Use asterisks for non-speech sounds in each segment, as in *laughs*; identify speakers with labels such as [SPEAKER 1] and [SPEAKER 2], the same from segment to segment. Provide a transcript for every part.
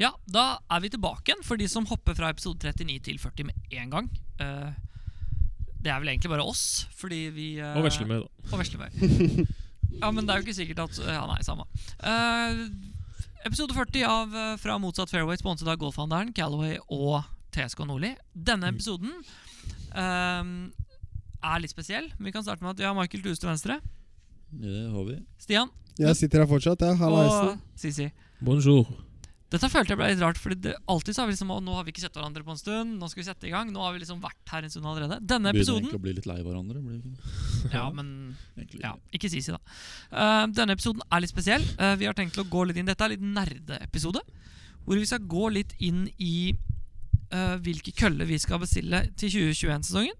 [SPEAKER 1] Ja, da er vi tilbake igjen for de som hopper fra episode 39 til 40 med en gang. Eh, det er vel egentlig bare oss, fordi vi eh,
[SPEAKER 2] Og vesle med, da.
[SPEAKER 1] Og Veslemøy. *laughs* Ja, men det er jo ikke sikkert at Ja, nei, samme. Eh, episode 40 av eh, Fra motsatt fairway sponset av golfhandelen Calaway og TSK Nordli. Denne episoden eh, er litt spesiell. Vi kan starte med at vi har Michael Tuse til venstre.
[SPEAKER 3] Det har vi.
[SPEAKER 1] Stian
[SPEAKER 4] Jeg sitter her fortsatt, ja.
[SPEAKER 1] og
[SPEAKER 4] Hallaisen.
[SPEAKER 1] Sisi.
[SPEAKER 2] Bonjour.
[SPEAKER 1] Dette følte jeg ble litt rart, Fordi det, alltid så har vi liksom «Å, Nå har vi ikke sett hverandre på en stund. Nå skal vi sette i gang. Nå har vi liksom vært her en stund allerede. Denne
[SPEAKER 3] Begynner egentlig
[SPEAKER 1] episoden
[SPEAKER 3] å bli litt lei hverandre. Blir vi ikke?
[SPEAKER 1] Ja, men
[SPEAKER 3] Egentlig.
[SPEAKER 1] Ja, ikke Sisi, da. Eh, denne episoden er litt spesiell. Eh, vi har tenkt å gå litt inn Dette er litt nerdeepisode. Hvor vi skal gå litt inn i eh, hvilke køller vi skal bestille til 2021-sesongen.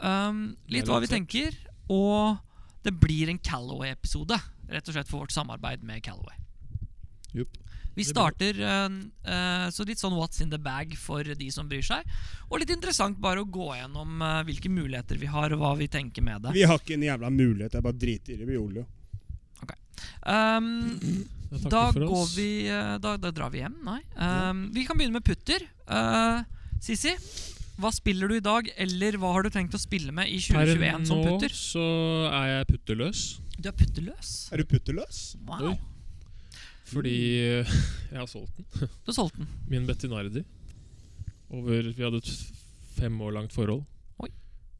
[SPEAKER 1] Um, litt hva vi tenker. Og det blir en Calaway-episode. Rett og slett for vårt samarbeid med Calaway.
[SPEAKER 3] Jupp.
[SPEAKER 1] Vi starter eh, eh, så litt sånn what's in the bag for de som bryr seg. Og litt interessant bare å gå gjennom eh, hvilke muligheter vi har, og hva vi tenker med det.
[SPEAKER 5] Vi har ikke en jævla mulighet. Jeg bare driter i det. Vi gjorde det jo.
[SPEAKER 1] Um,
[SPEAKER 2] Jeg takker
[SPEAKER 1] da
[SPEAKER 2] for
[SPEAKER 1] går
[SPEAKER 2] oss.
[SPEAKER 1] vi eh, da, da drar vi hjem, nei. Um, Vi kan begynne med putter. Eh, Sisi, hva spiller du i dag, eller hva har du tenkt å spille med i 2021 som
[SPEAKER 2] nå
[SPEAKER 1] putter?
[SPEAKER 2] så er jeg putterløs,
[SPEAKER 1] Du er putterløs.
[SPEAKER 5] Er du putterløs?
[SPEAKER 1] Wow.
[SPEAKER 2] Oi. fordi
[SPEAKER 3] Mm.
[SPEAKER 2] eh, *laughs* jeg har solgt den.
[SPEAKER 1] Du solgte den.
[SPEAKER 2] Min Bettinardi. Over Vi hadde et f- fem år langt forhold.
[SPEAKER 1] Oi.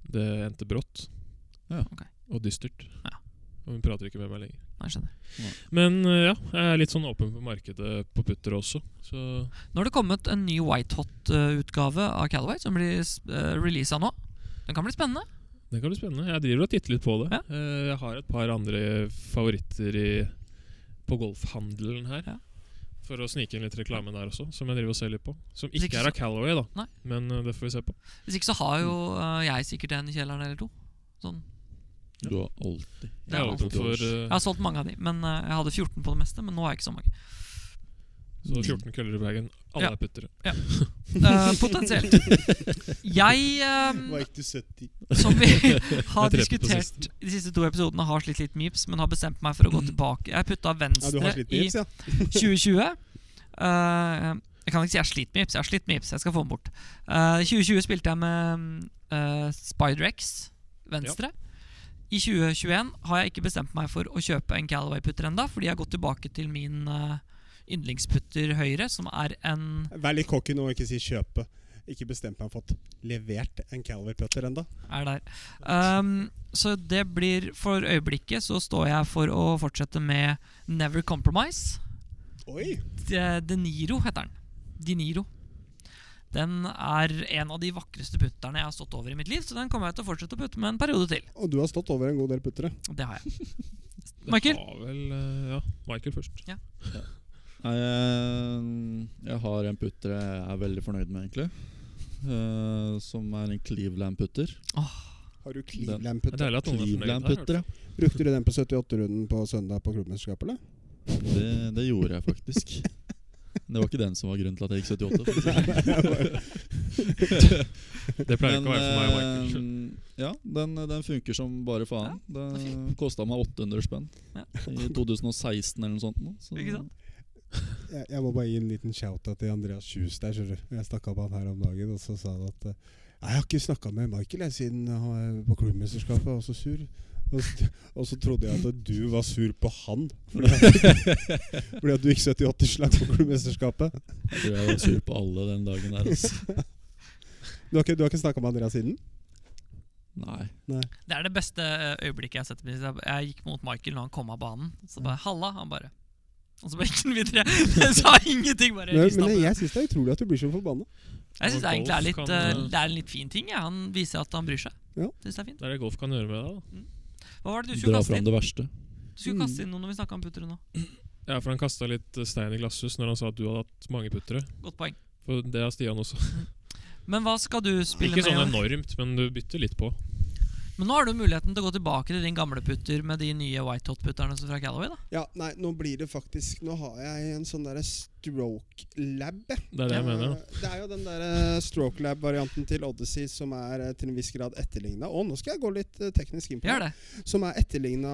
[SPEAKER 2] Det endte brått.
[SPEAKER 3] Ja.
[SPEAKER 1] Ok.
[SPEAKER 2] Og dystert.
[SPEAKER 1] Ja.
[SPEAKER 2] Og hun prater ikke med meg lenger.
[SPEAKER 1] Nei, jeg skjønner.
[SPEAKER 2] Men eh, ja, jeg er litt sånn åpen på markedet på putter også. Så
[SPEAKER 1] Nå har det kommet en ny White Hot-utgave av Calaway som blir uh, releasa nå. Den kan bli spennende.
[SPEAKER 2] det kan bli spennende. Jeg driver og titter litt på det.
[SPEAKER 1] Ja.
[SPEAKER 2] Eh, Jeg har et par andre favoritter i, på golfhandelen her.
[SPEAKER 1] Ja.
[SPEAKER 2] For å snike inn litt reklame der også, som jeg driver og ser litt på. Som
[SPEAKER 1] Hvis
[SPEAKER 2] ikke,
[SPEAKER 1] ikke
[SPEAKER 2] er av Callaway, da.
[SPEAKER 1] Nei.
[SPEAKER 2] Men eh, det får vi se på.
[SPEAKER 1] Hvis ikke så har jo eh, jeg sikkert en i kjelleren eller to. Sånn.
[SPEAKER 3] Du har alltid
[SPEAKER 1] Det
[SPEAKER 2] Jeg er
[SPEAKER 1] er
[SPEAKER 2] åpen for eh,
[SPEAKER 1] Jeg har solgt mange av de, men eh, jeg hadde 14 på det meste. Men nå har jeg ikke så mange.
[SPEAKER 2] så 14 køller i bagen. Alle
[SPEAKER 1] Ja.
[SPEAKER 2] er puttere.
[SPEAKER 1] Eh, potensielt. Jeg eh,
[SPEAKER 5] Var ikke du 70?
[SPEAKER 1] Som
[SPEAKER 5] *laughs*
[SPEAKER 1] vi har
[SPEAKER 2] på
[SPEAKER 1] diskutert
[SPEAKER 2] sisten.
[SPEAKER 1] i de siste to episodene, har slitt litt med gips, men har bestemt meg for å gå tilbake. Jeg putta
[SPEAKER 5] Mm. Ja, du
[SPEAKER 1] venstre
[SPEAKER 5] har slitt med
[SPEAKER 1] i
[SPEAKER 5] gips, ja.
[SPEAKER 1] 2020. Eh, jeg kan ikke si jeg har slitt med gips, jeg har slitt med gips. Jeg skal få den bort. Eh, 2020 spilte jeg med uh, Spider-X, venstre. I 2021 har jeg ikke bestemt meg for å kjøpe en Calaway-putter ennå, fordi jeg har gått tilbake til min eh, yndlingsputter høyre, som er en
[SPEAKER 5] Vær litt cocky nå og ikke si 'kjøpe'. Ikke bestemt meg for å ha fått levert en Calver-putter ennå.
[SPEAKER 1] er der. Ehm, så det blir For øyeblikket så står jeg for å fortsette med Never Compromise.
[SPEAKER 5] Oi!
[SPEAKER 1] eh, De, De Niro heter den. De Niro. Den er en av de vakreste putterne jeg har stått over i mitt liv, så den kommer jeg til å fortsette å putte med en periode til.
[SPEAKER 5] Og du har stått over en god del puttere.
[SPEAKER 1] Det har jeg. Michael?
[SPEAKER 2] Det var vel eh, Ja, Michael først.
[SPEAKER 3] Nei, jeg, jeg har en putter jeg er veldig fornøyd med, egentlig. Eh, som er en Cleveland-putter.
[SPEAKER 5] Har du
[SPEAKER 2] Det er
[SPEAKER 5] Cleveland-putter?
[SPEAKER 2] deilig at noen er fornøyd der.
[SPEAKER 3] Cleveland-putter, ja.
[SPEAKER 5] Brukte du den på 78-runden på søndag på klubbmesterskapet, eller?
[SPEAKER 3] Det, det gjorde jeg faktisk. Det var ikke den som var grunnen til at jeg gikk
[SPEAKER 4] *laughs*
[SPEAKER 3] 78. for å si det sånn.
[SPEAKER 2] Det pleier ikke å være for meg og Michael.
[SPEAKER 3] eh, ja, den, den funker som bare faen.
[SPEAKER 1] det er
[SPEAKER 3] Den kosta meg 800 spenn
[SPEAKER 1] Ja.
[SPEAKER 3] i 2016 eller noe sånt. nå, Så
[SPEAKER 1] Ikke sant?
[SPEAKER 5] Jeg, jeg må bare gi en liten shout-out til Andreas Kjus der. skjønner du. Jeg snakka med han her om dagen, og så sa han at eh, «Nei, Jeg har ikke snakka med Michael jeg, siden han er på klubbmesterskapet. Jeg var så sur. Og så, og så trodde jeg at du var sur på han. Fordi at, *laughs* fordi at du gikk 78 slag på klubbmesterskapet.
[SPEAKER 3] jeg tror jeg var sur på alle den dagen der. Altså.
[SPEAKER 5] Du har ikke, du har ikke snakka med Andreas siden?
[SPEAKER 3] Nei.
[SPEAKER 1] Det er det beste eh, øyeblikket jeg har sett. med disse. Jeg gikk mot Michael når han kom av banen. Så bare 'halla', han bare. Og så bare gikk han videre. *laughs* Jeg sa ingenting, bare
[SPEAKER 5] Men,
[SPEAKER 1] ristet
[SPEAKER 5] men
[SPEAKER 1] på det.
[SPEAKER 5] jeg syns det er utrolig at du blir så forbanna.
[SPEAKER 1] Jeg syns det
[SPEAKER 2] Og
[SPEAKER 1] egentlig er litt
[SPEAKER 2] golf
[SPEAKER 1] eh,
[SPEAKER 2] kan, eh,
[SPEAKER 1] Det er en litt fin ting. Ja. Han viser at han bryr seg.
[SPEAKER 5] Ja.
[SPEAKER 1] Synes det er fint
[SPEAKER 2] Det er det golf kan gjøre med deg.
[SPEAKER 1] Hva var det du skulle
[SPEAKER 3] Dra
[SPEAKER 1] kaste
[SPEAKER 3] fram
[SPEAKER 1] inn?
[SPEAKER 3] det verste.
[SPEAKER 1] Du skulle kaste inn noe når vi snakka om puttere nå.
[SPEAKER 2] da Ja, for Han kasta litt eh, stein i glasshus når han sa at du hadde hatt mange puttere.
[SPEAKER 1] Godt poeng.
[SPEAKER 2] For det har Stian også.
[SPEAKER 1] Men hva skal du spille
[SPEAKER 2] Ikke sånn
[SPEAKER 1] med? i år?
[SPEAKER 2] enormt, men du bytter litt på.
[SPEAKER 1] Men nå har du muligheten til å gå tilbake til din gamle putter med de nye White Hot-putterne som fra Callaway. da
[SPEAKER 5] Ja, nei, nå blir det faktisk Nå har jeg en sånn derre stroke lab. jeg.
[SPEAKER 2] Det er det jeg mener. da
[SPEAKER 5] Eh, Det er jo den der eh, stroke lab-varianten til Odyssey som er eh, til en viss grad etterligna. Og nå skal jeg gå litt eh, teknisk inn på
[SPEAKER 1] Gjør det.
[SPEAKER 5] Som er etterligna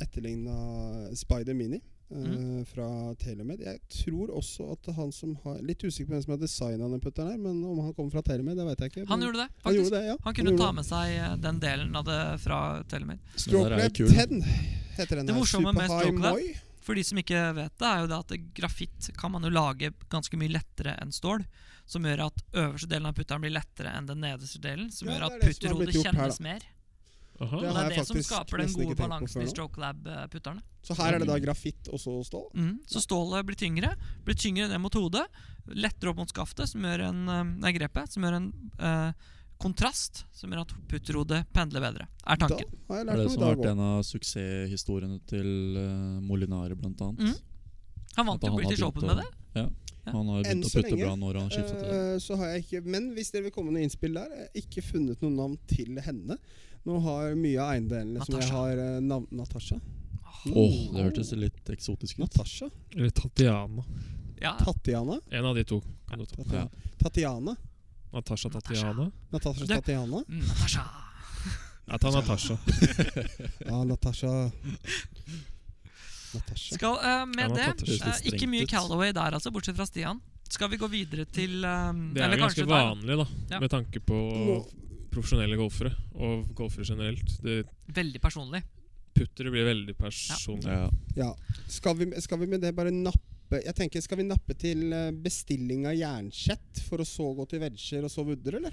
[SPEAKER 5] Etterligna Spider Mini. eh,
[SPEAKER 1] Mm.
[SPEAKER 5] eh, fra Telemed. Jeg tror også at han som har Litt usikker på hvem som har designa den putteren her, men om han kommer fra Telemed, det veit jeg ikke.
[SPEAKER 1] Han
[SPEAKER 5] men-
[SPEAKER 1] gjorde det,
[SPEAKER 5] han
[SPEAKER 1] faktisk.
[SPEAKER 5] gjorde det, ja.
[SPEAKER 1] Han kunne ta
[SPEAKER 5] gjorde
[SPEAKER 1] med seg eh, den delen av det fra Telemed.
[SPEAKER 3] Men
[SPEAKER 5] det.
[SPEAKER 3] der er
[SPEAKER 5] Strokelab
[SPEAKER 3] kul.
[SPEAKER 5] 10 heter den
[SPEAKER 1] Det
[SPEAKER 5] her.
[SPEAKER 1] morsomme med
[SPEAKER 5] Superhigh
[SPEAKER 1] Strokelab-
[SPEAKER 5] Moi.
[SPEAKER 1] For de som ikke vet det, er jo det at grafitt kan man jo lage ganske mye lettere enn stål. Som gjør at øverste delen av putteren blir lettere enn den nederste delen. Som
[SPEAKER 5] Ja,
[SPEAKER 1] gjør
[SPEAKER 5] det
[SPEAKER 1] at
[SPEAKER 5] er det som har
[SPEAKER 1] putterhodet
[SPEAKER 5] blitt gjort her,
[SPEAKER 1] kjennes
[SPEAKER 5] da.
[SPEAKER 1] mer.
[SPEAKER 2] Aha.
[SPEAKER 5] Det
[SPEAKER 1] Og det
[SPEAKER 5] har
[SPEAKER 1] er
[SPEAKER 5] jeg
[SPEAKER 1] det som
[SPEAKER 5] faktisk
[SPEAKER 1] skaper den
[SPEAKER 5] nesten
[SPEAKER 1] gode
[SPEAKER 5] ikke tenkt på før
[SPEAKER 1] balansen i
[SPEAKER 5] nå.
[SPEAKER 1] Stroke eh, Lab-putterne.
[SPEAKER 5] Så her er det da grafitt og så stål?
[SPEAKER 1] Mm. Så stålet blir tyngre. Blir tyngre ned mot hodet. Lettere opp mot skaftet, som gjør en, eh, nei, grepet, som gjør en eh, kontrast. Som gjør at putterhodet pendler bedre, er
[SPEAKER 5] Da
[SPEAKER 1] tanken.
[SPEAKER 5] har jeg
[SPEAKER 3] Det er
[SPEAKER 5] lært
[SPEAKER 3] det
[SPEAKER 5] noe i
[SPEAKER 3] som har
[SPEAKER 5] dag
[SPEAKER 3] vært
[SPEAKER 5] òg.
[SPEAKER 3] en av suksesshistoriene til uh, Molinari, blant annet.
[SPEAKER 1] Mm. Han
[SPEAKER 3] At
[SPEAKER 1] vant jo
[SPEAKER 3] han har
[SPEAKER 1] British
[SPEAKER 3] begynt
[SPEAKER 1] Open
[SPEAKER 3] å-
[SPEAKER 1] med det. Ja.
[SPEAKER 3] Han har jo
[SPEAKER 5] Enn
[SPEAKER 3] begynt å
[SPEAKER 5] så
[SPEAKER 3] putte
[SPEAKER 5] lenge,
[SPEAKER 3] bra når han skifta til det.
[SPEAKER 5] Eh, så har jeg ikke, men hvis dere vil komme med noen innspill der, jeg har ikke funnet noe navn til henne. Nå har mye av eiendelene som
[SPEAKER 1] Natasha.
[SPEAKER 5] jeg har eh, navn Natasha?
[SPEAKER 3] Åh, det hørtes litt eksotisk ut.
[SPEAKER 5] Natasha?
[SPEAKER 2] Eller Tatiana.
[SPEAKER 1] Ja,
[SPEAKER 5] Tatiana?
[SPEAKER 2] En av de to. Kan du ta.
[SPEAKER 5] Tatiana. Tatiana?
[SPEAKER 2] Natasha
[SPEAKER 1] Natasha.
[SPEAKER 2] Tatiana.
[SPEAKER 5] Natasha
[SPEAKER 1] Det-
[SPEAKER 5] Tatiana?
[SPEAKER 1] Mm, Natasha.
[SPEAKER 2] Jeg tar Natasha.
[SPEAKER 5] Ja, Natasha Natasha.
[SPEAKER 1] Skal, eh,
[SPEAKER 2] Ja,
[SPEAKER 1] med
[SPEAKER 2] nå
[SPEAKER 1] det,
[SPEAKER 2] tatt det litt
[SPEAKER 1] eh,
[SPEAKER 3] strengt
[SPEAKER 1] ikke mye
[SPEAKER 3] ut.
[SPEAKER 1] Calaway der, altså, bortsett fra Stian. Skal vi gå videre til eh,
[SPEAKER 2] Det er
[SPEAKER 1] eller
[SPEAKER 2] jo ganske
[SPEAKER 1] kanskje der,
[SPEAKER 2] vanlig, da,
[SPEAKER 1] Ja.
[SPEAKER 2] med tanke på
[SPEAKER 5] Nå-
[SPEAKER 2] profesjonelle golfere og golfere generelt. Det
[SPEAKER 1] Veldig personlig.
[SPEAKER 2] Puttere blir veldig personlig.
[SPEAKER 3] Ja.
[SPEAKER 5] Ja. Skal, vi, skal vi med det bare nappe Jeg tenker, Skal vi nappe til eh, bestilling av jernsett, for å så gå til wedger og så vudder, eller?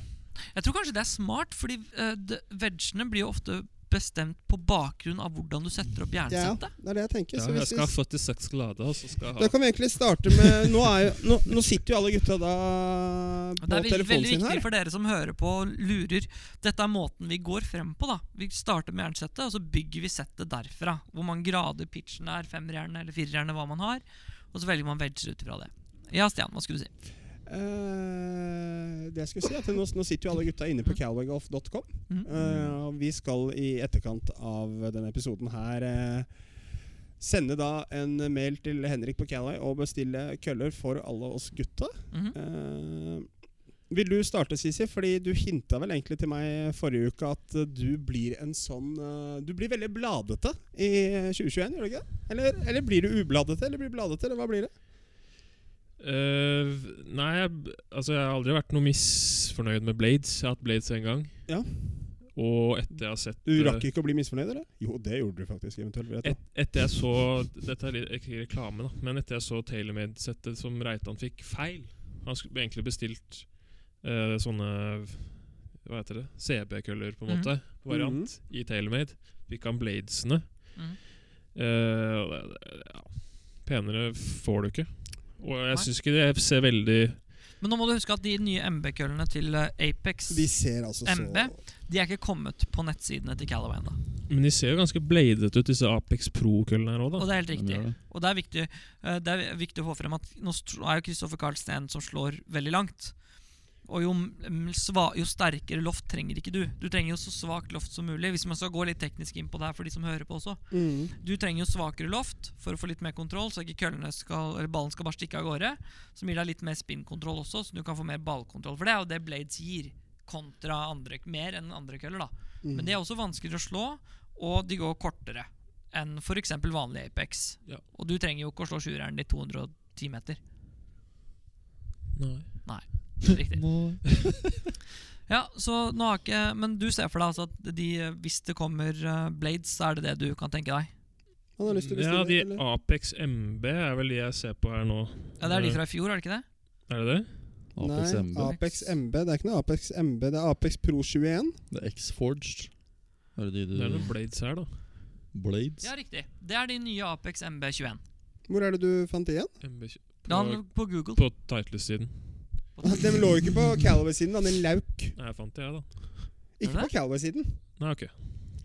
[SPEAKER 1] Jeg tror kanskje det er smart, fordi uh, vegene blir jo ofte bestemt på bakgrunn av hvordan du setter opp
[SPEAKER 5] Ja,
[SPEAKER 1] jernsettet.
[SPEAKER 5] det er det jeg tenker.
[SPEAKER 2] Ja,
[SPEAKER 5] så
[SPEAKER 2] jeg
[SPEAKER 5] hvis
[SPEAKER 2] skal ha
[SPEAKER 5] vi
[SPEAKER 2] 46 glade, og så skal
[SPEAKER 5] Da
[SPEAKER 2] jeg ha
[SPEAKER 5] kan vi egentlig starte med Nå, er jo, nå, nå sitter jo alle gutta da
[SPEAKER 1] Og Det
[SPEAKER 5] på
[SPEAKER 1] er veldig,
[SPEAKER 5] telefonen
[SPEAKER 1] veldig
[SPEAKER 5] sin
[SPEAKER 1] viktig
[SPEAKER 5] her.
[SPEAKER 1] for dere som hører på og lurer. Dette er måten vi går frem på. da Vi starter med jernsettet, og så bygger vi settet derfra. Hvor mange grader pitchen er, femmerjern eller firerjern, hva man har. Og så velger man wedger ut fra det. Ja, Stian, hva skulle du si?
[SPEAKER 5] Eh, det jeg skulle si er at nå, nå sitter jo alle gutta inne på
[SPEAKER 1] Mm.
[SPEAKER 5] calwaygolf.com.
[SPEAKER 1] Mhm.
[SPEAKER 5] Eh, og vi skal i etterkant av denne episoden her eh, sende da en mail til Henrik på Calway og bestille køller for alle oss gutta.
[SPEAKER 1] Mhm.
[SPEAKER 5] Eh, vil du starte, Sisi? Fordi du hinta vel egentlig til meg forrige uke at eh, du blir en sånn eh, Du blir veldig bladete i 2021, gjør du ikke det? Eller, eller blir du ubladete? Eller blir du bladete, eller hva blir det?
[SPEAKER 2] Eh, Nei, jeg, altså, jeg har aldri vært noe misfornøyd med Blades. Jeg har hatt Blades en gang.
[SPEAKER 5] Ja.
[SPEAKER 2] Og etter jeg har sett
[SPEAKER 5] Du
[SPEAKER 2] eh,
[SPEAKER 5] rakk ikke å bli misfornøyd, eller? Jo, det gjorde du faktisk. eventuelt vil jeg tro.
[SPEAKER 2] et, Etter jeg så Dette er litt- ikke reklame, da, men etter jeg så Taylormade-settet som Reitan fikk feil Han skulle egentlig bestilt eh, sånne Hva heter det? CB-køller, på en
[SPEAKER 1] Mhm.
[SPEAKER 2] måte, variant, i Taylormade. Fikk han Bladesene.
[SPEAKER 1] Mhm.
[SPEAKER 2] Eh, og det- det- ja. Penere får du ikke. Og
[SPEAKER 1] Nei.
[SPEAKER 2] jeg syns ikke det ser veldig
[SPEAKER 1] Men nå må du huske at de nye MB-køllene til eh, Apex
[SPEAKER 5] De ser altså så
[SPEAKER 1] MB? De er ikke kommet på nettsidene til Callaway ennå.
[SPEAKER 2] Men de ser jo ganske bladete ut, disse Apex Pro-køllene her òg,
[SPEAKER 1] Og
[SPEAKER 2] da.
[SPEAKER 1] det er helt
[SPEAKER 3] De
[SPEAKER 1] riktig.
[SPEAKER 3] gjør det.
[SPEAKER 1] Og det er viktig, eh, det er viktig å få frem at nå str- er jo Kristoffer Carlsen en som slår veldig langt. Og jo, m- sva, jo sterkere loft trenger ikke du. Du trenger jo så svakt loft som mulig. Hvis man skal gå litt teknisk inn på det her for de som hører på også.
[SPEAKER 5] Mm.
[SPEAKER 1] Du trenger jo svakere loft for å få litt mer kontroll, så ikke køllene skal, eller ballen skal bare stikke av gårde. Som gir deg litt mer spinnkontroll også, så du kan få mer ballkontroll. For det er jo det Blades gir, kontra andre, mer enn andre køller. da.
[SPEAKER 5] Mm.
[SPEAKER 1] Men de er også vanskeligere å slå, og de går kortere enn f.eks. vanlig Apex.
[SPEAKER 2] Ja.
[SPEAKER 1] Og du trenger jo ikke å slå sjueren i 210 *laughs* meter.
[SPEAKER 2] Nei.
[SPEAKER 1] Riktig.
[SPEAKER 3] Må-
[SPEAKER 1] Ja, så nå har ikke Men du ser for deg altså at de, hvis det kommer eh, Blades, så er det det du kan tenke deg?
[SPEAKER 5] Han har lyst til å bestille,
[SPEAKER 2] Ja, de
[SPEAKER 5] eller?
[SPEAKER 2] Apex MB er vel de jeg ser på her nå. Eh,
[SPEAKER 1] Ja, Det er de fra i fjor, er det ikke det?
[SPEAKER 2] Er det det?
[SPEAKER 3] Apex
[SPEAKER 5] Nei,
[SPEAKER 3] MB.
[SPEAKER 5] Apex MB. Det er ikke noe Apex MB, det er Apex Pro 21.
[SPEAKER 3] Det er X-Forged. Er det de
[SPEAKER 2] Det er noen
[SPEAKER 3] du
[SPEAKER 2] blades her, da.
[SPEAKER 3] Blades?
[SPEAKER 1] Ja, riktig. Det er de nye Apex MB21.
[SPEAKER 5] Hvor er det du fant det igjen?
[SPEAKER 2] MB
[SPEAKER 1] Det
[SPEAKER 2] på,
[SPEAKER 1] handler på Google.
[SPEAKER 2] på Titles-siden.
[SPEAKER 5] De Ah, lå jo ikke på Calaway-siden, da. Den lauk.
[SPEAKER 2] Nei, jeg fant det, jeg, da.
[SPEAKER 5] Ikke på Calaway-siden.
[SPEAKER 2] Nei, ok.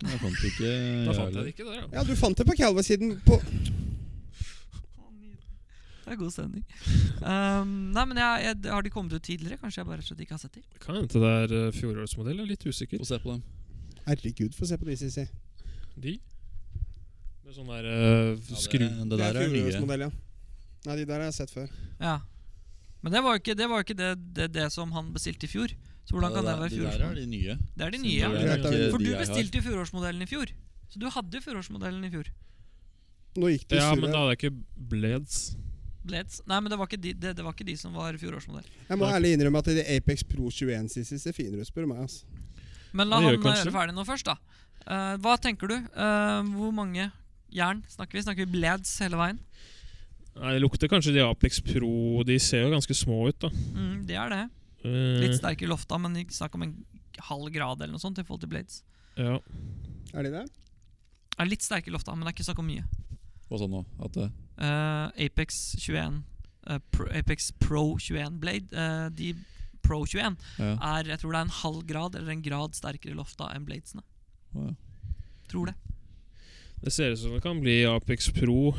[SPEAKER 3] Jeg fant
[SPEAKER 1] *laughs*
[SPEAKER 3] ikke
[SPEAKER 2] Da fant jeg det ikke der, ja.
[SPEAKER 5] Ja, du fant det på Calaway-siden. På
[SPEAKER 1] Det er god stemning. Um, nei, men jeg, jeg, har de kommet ut tidligere? Kanskje jeg bare rett og slett ikke har sett dem?
[SPEAKER 2] Kan hende det er eh, fjorårsmodell. Jeg er litt usikker.
[SPEAKER 3] Få se på dem.
[SPEAKER 5] Herregud, få se på de, Sisi.
[SPEAKER 2] De? Med sånn der eh, skru...
[SPEAKER 3] det, det der er nye.
[SPEAKER 5] fjorårsmodell, ja. Nei, de der har jeg sett før.
[SPEAKER 1] Ja. Men det var jo ikke det, var jo ikke det, det, det som han bestilte i fjor. Så hvordan kan det, være
[SPEAKER 3] De der er
[SPEAKER 1] fjorårsmodellen?
[SPEAKER 3] de nye.
[SPEAKER 1] Det er de nye.
[SPEAKER 5] det er
[SPEAKER 1] ja.
[SPEAKER 5] ikke
[SPEAKER 1] For du
[SPEAKER 3] de jeg har.
[SPEAKER 1] bestilte jo fjorårsmodellen i fjor. Så du hadde jo fjorårsmodellen i fjor.
[SPEAKER 5] Nå gikk det
[SPEAKER 2] Ja,
[SPEAKER 5] surre.
[SPEAKER 2] men da hadde jeg ikke Blades.
[SPEAKER 1] Blades. Nei, men det var ikke de, det, det var ikke de som var fjorårsmodell.
[SPEAKER 5] Jeg må
[SPEAKER 2] Nei.
[SPEAKER 5] ærlig innrømme at det Apex Pro 21 siste ser finere ut, spør du meg. Altså.
[SPEAKER 1] Men la
[SPEAKER 2] Det gjør
[SPEAKER 1] han eh,
[SPEAKER 2] kanskje.
[SPEAKER 1] gjøre ferdig nå først, da. Eh, hva tenker du? Eh, hvor mange jern snakker vi? Snakker vi Blades hele veien?
[SPEAKER 2] Nei, Det lukter kanskje de Apex Pro De ser jo ganske små ut, da.
[SPEAKER 1] Mm, det er det.
[SPEAKER 2] Eh,
[SPEAKER 1] Litt sterke i lofta, men ikke snakk om en halv grad eller noe sånt i forhold til Blades.
[SPEAKER 2] ja.
[SPEAKER 5] Er de det?
[SPEAKER 1] Er litt sterke i lofta, men det er ikke snakk om mye.
[SPEAKER 3] Og sånn nå, at det,
[SPEAKER 1] Eh, Apex 21 eh, Pro, Apex Pro 21 Blade eh, De Pro 21
[SPEAKER 3] ja.
[SPEAKER 1] er jeg tror det er en halv grad eller en grad sterkere i lofta enn Bladesene.
[SPEAKER 3] Å, ja.
[SPEAKER 1] Tror det.
[SPEAKER 2] Det ser ut som det kan bli Apex Pro.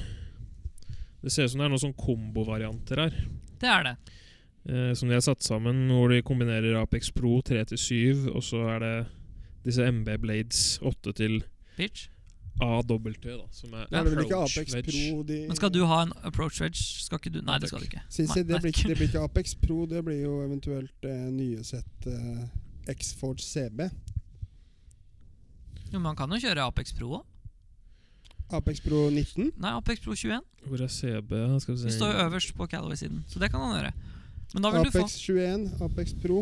[SPEAKER 2] Det ser ut som det er noen sånn kombovarianter her.
[SPEAKER 1] Det er det.
[SPEAKER 2] eh, som de har satt sammen, hvor de kombinerer Apex Pro 3 til 7, og så er det disse MB Blades 8 til
[SPEAKER 1] Pitch.
[SPEAKER 2] AW, da, som er
[SPEAKER 5] Nei, det blir ikke
[SPEAKER 2] approach
[SPEAKER 5] Apex
[SPEAKER 2] wedge.
[SPEAKER 5] Pro de
[SPEAKER 1] Men skal du ha en approach wedge? Skal ikke du Nei, det skal du ikke.
[SPEAKER 5] Synes
[SPEAKER 1] Nei,
[SPEAKER 5] jeg det,
[SPEAKER 1] nei,
[SPEAKER 5] blir, ikke-
[SPEAKER 1] ikke-
[SPEAKER 5] det blir ikke Apex Pro, det blir jo eventuelt eh, nye sett eh, X-Forge CB.
[SPEAKER 1] Jo, men man kan jo kjøre Apex Pro òg.
[SPEAKER 5] Apex Pro 19.
[SPEAKER 1] Nei, Apex Pro 21.
[SPEAKER 2] Hvor er CB? Skal vi se
[SPEAKER 1] Det står jo øverst på Calaway-siden, så det kan han gjøre. Men da vil du få
[SPEAKER 5] Apex 21, Apex Pro.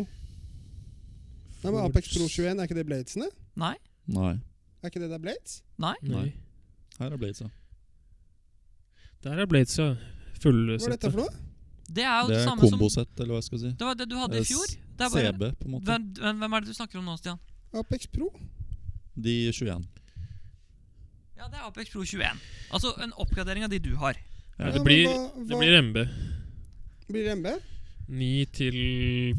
[SPEAKER 5] Nei, men Apex Pro 21, er ikke det Bladesene?
[SPEAKER 1] Nei.
[SPEAKER 3] Nei.
[SPEAKER 5] Er ikke det der Blades?
[SPEAKER 1] Nei.
[SPEAKER 2] Nei.
[SPEAKER 3] Her er Blades, ja.
[SPEAKER 2] Der er Blades, ja. Fulle
[SPEAKER 5] Hva er dette
[SPEAKER 2] settet.
[SPEAKER 5] for noe?
[SPEAKER 1] Det er jo det,
[SPEAKER 3] Det er
[SPEAKER 1] samme som
[SPEAKER 3] kombosett, eller hva jeg skal si.
[SPEAKER 1] Det var det du hadde i
[SPEAKER 3] Eh,
[SPEAKER 1] fjor.
[SPEAKER 3] s-
[SPEAKER 1] Det er bare,
[SPEAKER 3] CB, på en måte.
[SPEAKER 1] hvem, hvem er det du snakker om nå, Stian?
[SPEAKER 5] Apex Pro.
[SPEAKER 3] De 21.
[SPEAKER 1] Ja, det er Apex Pro 21. Altså en oppgradering av de du har.
[SPEAKER 2] Nei,
[SPEAKER 5] Ja,
[SPEAKER 2] det,
[SPEAKER 5] men
[SPEAKER 2] blir,
[SPEAKER 5] hva-
[SPEAKER 2] det
[SPEAKER 5] hva-
[SPEAKER 2] blir MB.
[SPEAKER 5] Blir det MB?
[SPEAKER 2] 9 til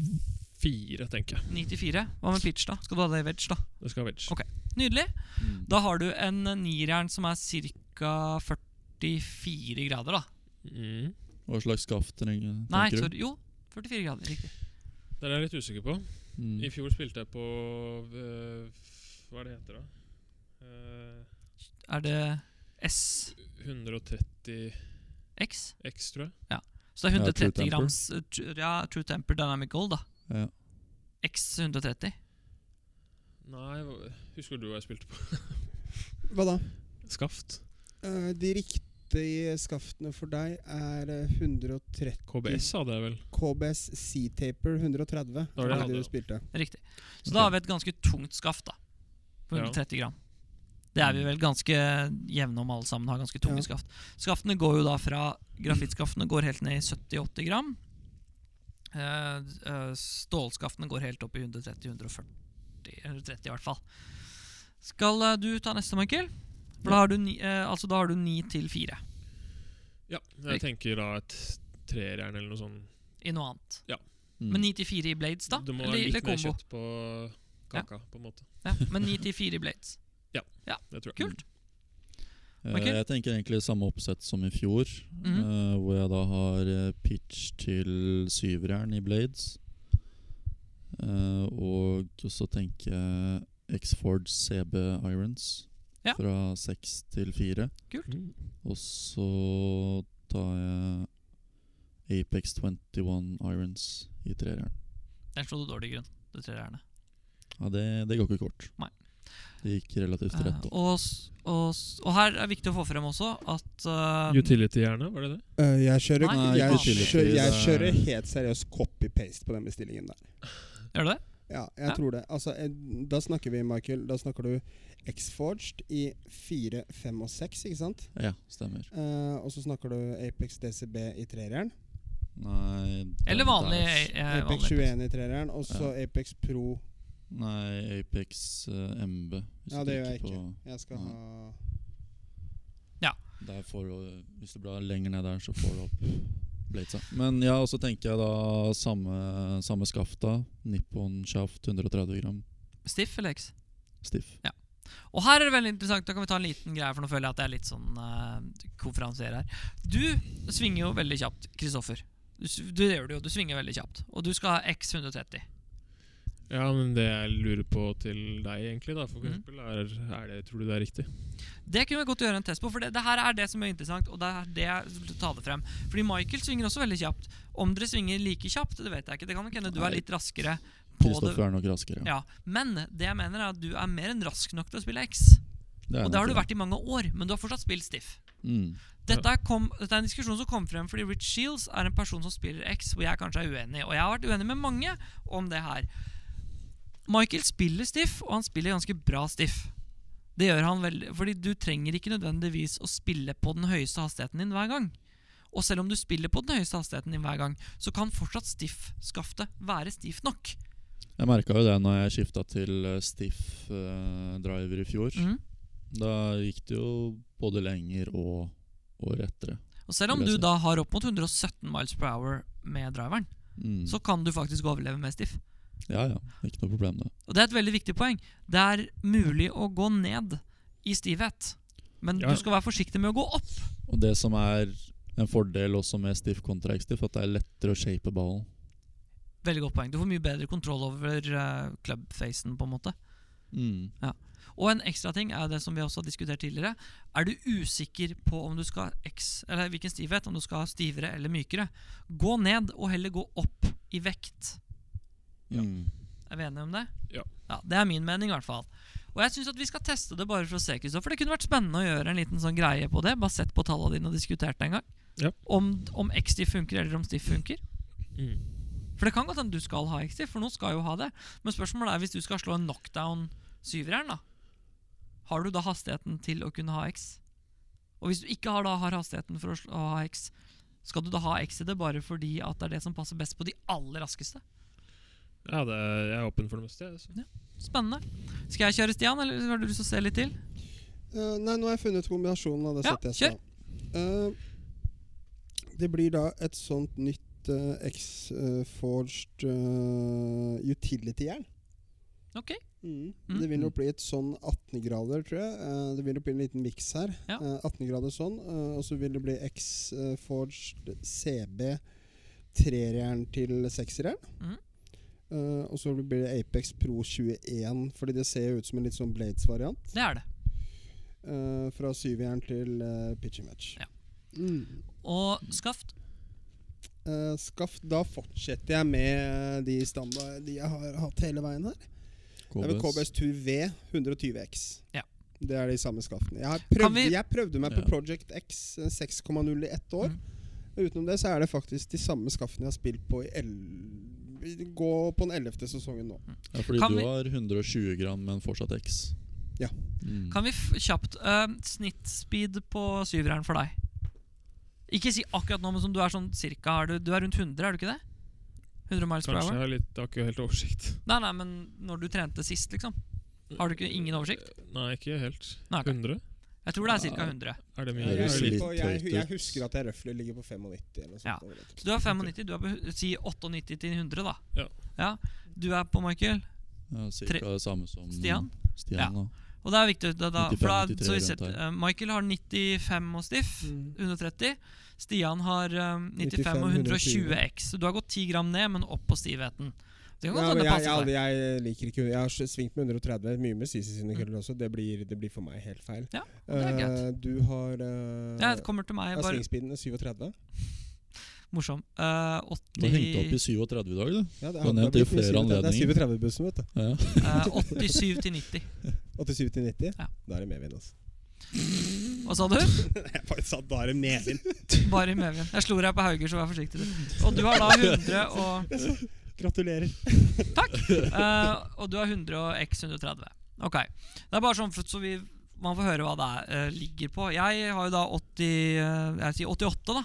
[SPEAKER 2] 4, tenker jeg.
[SPEAKER 1] 94. Hva med pitch, da? Skal du ha det i wedge, da?
[SPEAKER 2] Det skal ha wedge.
[SPEAKER 1] Ok. Nydelig.
[SPEAKER 3] Mm.
[SPEAKER 1] Da har du en eh, nirjern som er ca. 44 grader, da.
[SPEAKER 2] Mm.
[SPEAKER 3] Hva slags skaft trenger
[SPEAKER 1] Nei,
[SPEAKER 3] tenker du?
[SPEAKER 1] sorry. Jo, 44 grader. Riktig.
[SPEAKER 2] Den er jeg litt usikker på.
[SPEAKER 3] Mm.
[SPEAKER 2] I fjor spilte jeg på øh, Hva er det heter, da? Eh,
[SPEAKER 1] Er det SX?
[SPEAKER 2] 130 X, tror jeg.
[SPEAKER 1] Så det er
[SPEAKER 3] Ja, True
[SPEAKER 1] 130
[SPEAKER 3] Temper.
[SPEAKER 1] grams eh, tru- Ja, True Temper Dynamic Gold, da.
[SPEAKER 3] Ja.
[SPEAKER 1] X 130.
[SPEAKER 2] Nei, hva- husker du hva jeg spilte på?
[SPEAKER 5] Hva da?
[SPEAKER 2] Skaft?
[SPEAKER 5] Eh, de riktige skaftene for deg er eh, 130
[SPEAKER 2] KBS hadde jeg vel.
[SPEAKER 5] KBS C-Taper 130.
[SPEAKER 2] Da var det jeg hadde,
[SPEAKER 5] det
[SPEAKER 2] ja.
[SPEAKER 5] du spilte.
[SPEAKER 1] Riktig. Så
[SPEAKER 3] Ok.
[SPEAKER 1] da har vi et ganske tungt skaft, da. På
[SPEAKER 2] Ja.
[SPEAKER 1] 130 gram. Det er vi vel ganske jevne om alle sammen. har ganske tunge
[SPEAKER 5] Ja.
[SPEAKER 1] skaft. Skaftene går jo da fra Grafittskaftene går helt ned i 70-80 gram. Eh, eh, stålskaftene går helt opp i 130-140. 130 i hvert fall. Skal eh, du ta neste, Michael? For da har du ni, eh, altså da har du ni til fire
[SPEAKER 2] Ja, jeg tenker da et treerjern eller noe sånn. sånt.
[SPEAKER 1] i noe annet.
[SPEAKER 3] Mm.
[SPEAKER 1] Men ni til fire i Blades, da?
[SPEAKER 2] Det må
[SPEAKER 1] Eller-
[SPEAKER 2] være litt
[SPEAKER 1] eller
[SPEAKER 2] mer
[SPEAKER 1] combo?
[SPEAKER 2] kjøtt på kaka, på en måte.
[SPEAKER 1] Ja, men ni til fire i Blades.
[SPEAKER 2] Det tror jeg.
[SPEAKER 1] Kult.
[SPEAKER 3] Eh,
[SPEAKER 1] Michael?
[SPEAKER 3] Jeg tenker egentlig samme oppsett som i fjor,
[SPEAKER 2] Mm.
[SPEAKER 1] Mhm.
[SPEAKER 3] eh, hvor jeg da har eh, pitch til syverjern i Blades. Eh, og så tenker jeg X-Ford CB Irons
[SPEAKER 1] Ja.
[SPEAKER 3] fra seks til fire.
[SPEAKER 2] Mm.
[SPEAKER 3] Og så tar jeg Apex 21 Irons i trerjern.
[SPEAKER 1] Der slo du dårlig i grunn. Det tror jeg gjerne.
[SPEAKER 3] Ja, det, det går ikke kort.
[SPEAKER 1] Nei.
[SPEAKER 3] Det gikk relativt
[SPEAKER 1] Eh,
[SPEAKER 3] rett opp.
[SPEAKER 1] og, s- og, s- og her er viktig å få frem også at eh,
[SPEAKER 2] Utility-jernet, Mm. var det det?
[SPEAKER 5] Eh, jeg, kjører,
[SPEAKER 1] Nei,
[SPEAKER 5] jeg,
[SPEAKER 1] ikke
[SPEAKER 5] kjører,
[SPEAKER 1] tillit.
[SPEAKER 5] jeg
[SPEAKER 3] Det er-
[SPEAKER 5] kjører helt seriøst copy-paste på den bestillingen der.
[SPEAKER 1] Gjør du det?
[SPEAKER 5] Ja, jeg
[SPEAKER 1] Ja.
[SPEAKER 5] tror det. Altså, eh, da snakker vi, Michael, da snakker du X-Forged i 4, 5 og 6, ikke sant?
[SPEAKER 3] Ja, stemmer.
[SPEAKER 5] Eh, og så snakker du Apex DCB i trerjern.
[SPEAKER 3] Nei
[SPEAKER 1] Eller
[SPEAKER 3] den
[SPEAKER 1] vanlig,
[SPEAKER 3] der-
[SPEAKER 1] eh,
[SPEAKER 5] Apex
[SPEAKER 1] vanlig
[SPEAKER 5] 21 i trerjern, og så Apex Pro.
[SPEAKER 3] Nei, Apex eh, MB. Hvis
[SPEAKER 5] Ja,
[SPEAKER 3] du
[SPEAKER 5] det gjør jeg
[SPEAKER 3] trykker
[SPEAKER 5] ikke.
[SPEAKER 3] på-
[SPEAKER 5] Jeg
[SPEAKER 1] Mm.
[SPEAKER 5] skal
[SPEAKER 3] Nei.
[SPEAKER 5] ha
[SPEAKER 3] Der får du, eh, hvis du blar lenger ned der, så får du opp Bladesa. Men ja, og så tenker jeg da samme, samme skafta. Nippon shaft 130 gram
[SPEAKER 1] Stiff eller X?
[SPEAKER 3] stiff.
[SPEAKER 1] Og her er det veldig interessant. Da kan vi ta en liten greie, for nå føler jeg at jeg er litt sånn uh, konferansier her. Du svinger jo veldig kjapt, Kristoffer. Du, s- du det gjør det jo, du svinger veldig kjapt. Og du skal ha X130.
[SPEAKER 2] Ja, men det jeg lurer på til deg, egentlig, da, for
[SPEAKER 1] Mm.
[SPEAKER 2] eksempel, er, er det Tror du det er riktig?
[SPEAKER 1] Det kunne vi godt gjøre en test på, for det, det her er det som er interessant. Og det er det jeg vil ta det frem. Fordi Michael svinger også veldig kjapt. Om dere svinger like kjapt, det vet jeg ikke. Det kan nok hende du
[SPEAKER 3] Nei.
[SPEAKER 1] er litt raskere på det.
[SPEAKER 3] Kristoffer er nok raskere.
[SPEAKER 1] Ja. Men det jeg mener, er at du er mer enn rask nok til å spille X.
[SPEAKER 3] Det er
[SPEAKER 1] Og det har
[SPEAKER 3] nok
[SPEAKER 1] du vært i mange år, men du har fortsatt spilt stiff.
[SPEAKER 3] Mm.
[SPEAKER 1] Dette er, kom, dette er en diskusjon som kom frem fordi Rich Shields er en person som spiller X, hvor jeg kanskje er uenig. Og jeg har vært uenig med mange om det her. Michael spiller stiff, og han spiller ganske bra stiff. Det gjør han veldig, fordi du trenger ikke nødvendigvis å spille på den høyeste hastigheten din hver gang. Og selv om du spiller på den høyeste hastigheten din hver gang, så kan fortsatt stiff-skaftet være stivt nok.
[SPEAKER 3] Jeg merka jo det når jeg skifta til eh, stiff eh, driver i fjor.
[SPEAKER 1] Mm.
[SPEAKER 3] Da gikk det jo både lenger og, og rettere.
[SPEAKER 1] Og selv om du
[SPEAKER 3] Vil jeg si.
[SPEAKER 1] da har opp mot 117 miles per hour med driveren,
[SPEAKER 3] Mm.
[SPEAKER 1] så kan du faktisk overleve med stiff.
[SPEAKER 3] Ja ja, ikke noe problem det.
[SPEAKER 1] Og det er et veldig viktig poeng. Det er mulig å gå ned i stivhet, men
[SPEAKER 2] Ja.
[SPEAKER 1] du skal være forsiktig med å gå opp.
[SPEAKER 3] Og det som er en fordel også med stiff kontra ekstiff, at det er lettere å shape ballen.
[SPEAKER 1] Veldig godt poeng. Du får mye bedre kontroll over eh, clubfacen, på en måte.
[SPEAKER 3] Mm.
[SPEAKER 1] Og en ekstra ting er det som vi også har diskutert tidligere. Er du usikker på om du skal ha X, eller hvilken stivhet, om du skal ha stivere eller mykere, gå ned og heller gå opp i vekt.
[SPEAKER 2] Ja.
[SPEAKER 3] Mm.
[SPEAKER 1] Er vi enige om det?
[SPEAKER 2] Ja.
[SPEAKER 1] Det er min mening, i hvert fall. Og jeg syns vi skal teste det bare for å se, Kristoffer. Det kunne vært spennende å gjøre en liten sånn greie på det, bare sett på tallene dine og diskutert det en gang.
[SPEAKER 2] Ja.
[SPEAKER 1] Om, om X-Stiff funker, eller om Stiff funker.
[SPEAKER 2] Mm.
[SPEAKER 1] For det kan godt hende du skal ha X-Stiff, for noen skal jo ha det. Men spørsmålet er hvis du skal slå en knockdown syveren, da. Har du da hastigheten til å kunne ha X? Og hvis du ikke har, da, har hastigheten for å, slå, å ha X, skal du da ha X i det bare fordi at det er det som passer best på de aller raskeste?
[SPEAKER 2] Ja, det, jeg er åpen for det meste. jeg, altså. Så.
[SPEAKER 1] Spennende. Skal jeg kjøre, Stian, eller har du lyst til å se litt til?
[SPEAKER 5] Eh, nei, nå har jeg funnet kombinasjonen av det
[SPEAKER 1] Ja,
[SPEAKER 5] settet jeg sa. Eh, det blir da et sånt nytt eh, X-forged eh, utility-jern.
[SPEAKER 1] Ok.
[SPEAKER 5] Mm.
[SPEAKER 1] Mm.
[SPEAKER 5] Det vil nok bli et sånn 18 grader, tror jeg. Eh, det vil nok bli en liten miks her.
[SPEAKER 1] Ja.
[SPEAKER 5] Eh, 18 grader sånn, eh, og så vil det bli X-forged CB trerjern til sekserjern.
[SPEAKER 1] Mhm.
[SPEAKER 5] Eh, og så blir det Apex Pro 21, fordi det ser jo ut som en litt sånn Blades-variant.
[SPEAKER 1] Det er det.
[SPEAKER 5] Eh, fra syvjern til eh, pitching match.
[SPEAKER 1] Ja.
[SPEAKER 5] Mm.
[SPEAKER 1] Og skaft
[SPEAKER 5] Eh, skaff, da fortsetter jeg med eh, de standard de jeg har hatt hele veien her. Det er vel KBS 2V 120X.
[SPEAKER 1] Ja.
[SPEAKER 5] Det er de samme skaftene. Jeg, har
[SPEAKER 1] Kan
[SPEAKER 5] prøvd,
[SPEAKER 1] vi-
[SPEAKER 5] jeg prøvde meg på
[SPEAKER 3] Ja.
[SPEAKER 5] Project X eh, 6,0 i ett år.
[SPEAKER 1] Mm.
[SPEAKER 5] Utenom det så er det faktisk de samme skaftene jeg har spilt på i el Gå på den 11. sesongen nå.
[SPEAKER 3] Ja, fordi
[SPEAKER 1] Kan
[SPEAKER 3] du
[SPEAKER 1] vi-
[SPEAKER 3] har 120 gram, men fortsatt X.
[SPEAKER 5] Ja.
[SPEAKER 3] Mm.
[SPEAKER 1] Kan vi f kjapt uh, Snittspeed på syveren for deg? Ikke si akkurat nå, men som du er sånn cirka er du, du er rundt 100, er du ikke det? 100 miles per
[SPEAKER 2] Kanskje jeg
[SPEAKER 1] hour?
[SPEAKER 2] har litt, jeg har ikke helt oversikt.
[SPEAKER 1] Nei, nei, men når du trente sist, liksom. Har du ikke ingen oversikt?
[SPEAKER 2] Eh, Nei, ikke helt.
[SPEAKER 1] Nei, ok.
[SPEAKER 2] 100?
[SPEAKER 1] Jeg tror det er cirka 100.
[SPEAKER 2] Er det mye?
[SPEAKER 3] Ja,
[SPEAKER 2] Er
[SPEAKER 3] det
[SPEAKER 5] Jeg,
[SPEAKER 2] det
[SPEAKER 3] ser
[SPEAKER 5] ligger
[SPEAKER 2] litt?
[SPEAKER 5] på,
[SPEAKER 3] litt
[SPEAKER 5] jeg,
[SPEAKER 3] høyt
[SPEAKER 5] jeg
[SPEAKER 3] ut.
[SPEAKER 5] husker at jeg røffelig ligger på 95 eller noe
[SPEAKER 1] Ja.
[SPEAKER 5] sånt. Ja.
[SPEAKER 1] Så du er 95, du er på si 98 til 100, da.
[SPEAKER 2] Ja.
[SPEAKER 1] Du er på, Michael.
[SPEAKER 3] Ja, cirka det samme som
[SPEAKER 1] Stian?
[SPEAKER 3] Stian
[SPEAKER 1] Ja.
[SPEAKER 3] da.
[SPEAKER 1] Og det er viktig. Da, da,
[SPEAKER 3] 95,
[SPEAKER 1] for da, så vi
[SPEAKER 3] 93
[SPEAKER 1] setter,
[SPEAKER 3] rundt
[SPEAKER 1] eh, Michael har 95 og stiff.
[SPEAKER 5] Mm.
[SPEAKER 1] 130. Stian har eh, 95 og
[SPEAKER 5] 95,
[SPEAKER 1] 120 X. Så du har gått 10 gram ned, men opp på stivheten. Det kan
[SPEAKER 5] Ja,
[SPEAKER 1] godt hende sånn, det
[SPEAKER 5] men jeg, jeg,
[SPEAKER 1] passer deg.
[SPEAKER 5] aldri- jeg liker ikke Jeg har s- svingt med 130 mye med Sisi sine køller også. Det blir, det blir for meg helt feil.
[SPEAKER 1] Mm. Ja, det er
[SPEAKER 5] Eh,
[SPEAKER 1] greit.
[SPEAKER 5] du har uh,
[SPEAKER 1] Ja, det kommer til meg. Bare
[SPEAKER 5] svingspeedene 37.
[SPEAKER 1] morsom. Eh, 80,
[SPEAKER 3] Du har hengt opp i 37 i dag, du.
[SPEAKER 5] Ja, det,
[SPEAKER 3] Kan hende
[SPEAKER 5] det blir
[SPEAKER 3] til flere
[SPEAKER 5] 37. Det er
[SPEAKER 3] anledninger.
[SPEAKER 5] 37-bussen, vet du.
[SPEAKER 3] Ja.
[SPEAKER 1] eh, 87 til 90.
[SPEAKER 5] 87 til 90.
[SPEAKER 1] Ja.
[SPEAKER 5] Da er det medvind, altså.
[SPEAKER 1] Hva sa du?
[SPEAKER 5] *laughs* Jeg bare sa da er det medvind.
[SPEAKER 1] Bare i medvind. Jeg slo deg på hauger, så vær forsiktig. du. Og du har da 100 og
[SPEAKER 5] *laughs* Gratulerer.
[SPEAKER 1] Takk! Eh, og du har 100 og X 130. Ok. Det er bare sånn for- så vi, man får høre hva det er, eh, ligger på. Jeg har jo da 80, eh, jeg sier 88 da,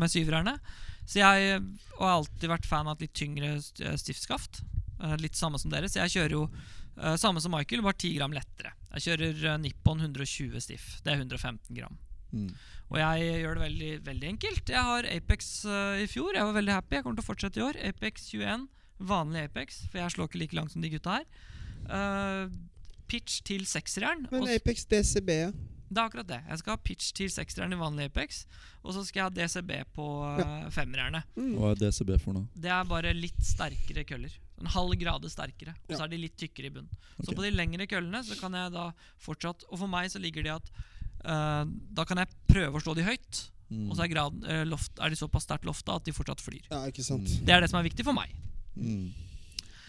[SPEAKER 1] med syverne. Så jeg eh, har alltid vært fan av et litt tyngre st- eh, stiftskaft. Eh, litt samme som dere. Så jeg kjører jo eh, samme som Michael, bare 10 gram lettere. Jeg kjører eh, Nippon 120 stiff. Det er 115 gram.
[SPEAKER 3] Mm.
[SPEAKER 1] Og jeg gjør det veldig, veldig enkelt. Jeg har Apex eh, i fjor. Jeg var veldig happy. Jeg kommer til å fortsette i år. Apex 21, vanlig Apex, for jeg slår ikke like langt som de gutta her. Eh, pitch til sekserjern.
[SPEAKER 5] Men
[SPEAKER 1] og s-
[SPEAKER 5] Apex DCB ja.
[SPEAKER 1] Det er akkurat det. Jeg skal ha pitch til sekserjern i vanlig Apex, og så skal jeg ha DCB på uh, femmerjerne.
[SPEAKER 3] Hva er DCB for noe?
[SPEAKER 1] Det er bare litt sterkere køller. En halv grade sterkere. Og så
[SPEAKER 5] Ja.
[SPEAKER 1] er de litt tykkere i bunnen. Så
[SPEAKER 3] Ok.
[SPEAKER 1] på de lengre køllene så kan jeg da fortsatt Og for meg så ligger det at eh, da kan jeg prøve å slå de høyt.
[SPEAKER 3] Mm.
[SPEAKER 1] Og så er, grad, eh, loft, er de såpass sterkt lofta at de fortsatt flyr.
[SPEAKER 5] ja, ikke sant.
[SPEAKER 3] Mm.
[SPEAKER 1] Det er det som er viktig for meg.
[SPEAKER 3] Mm.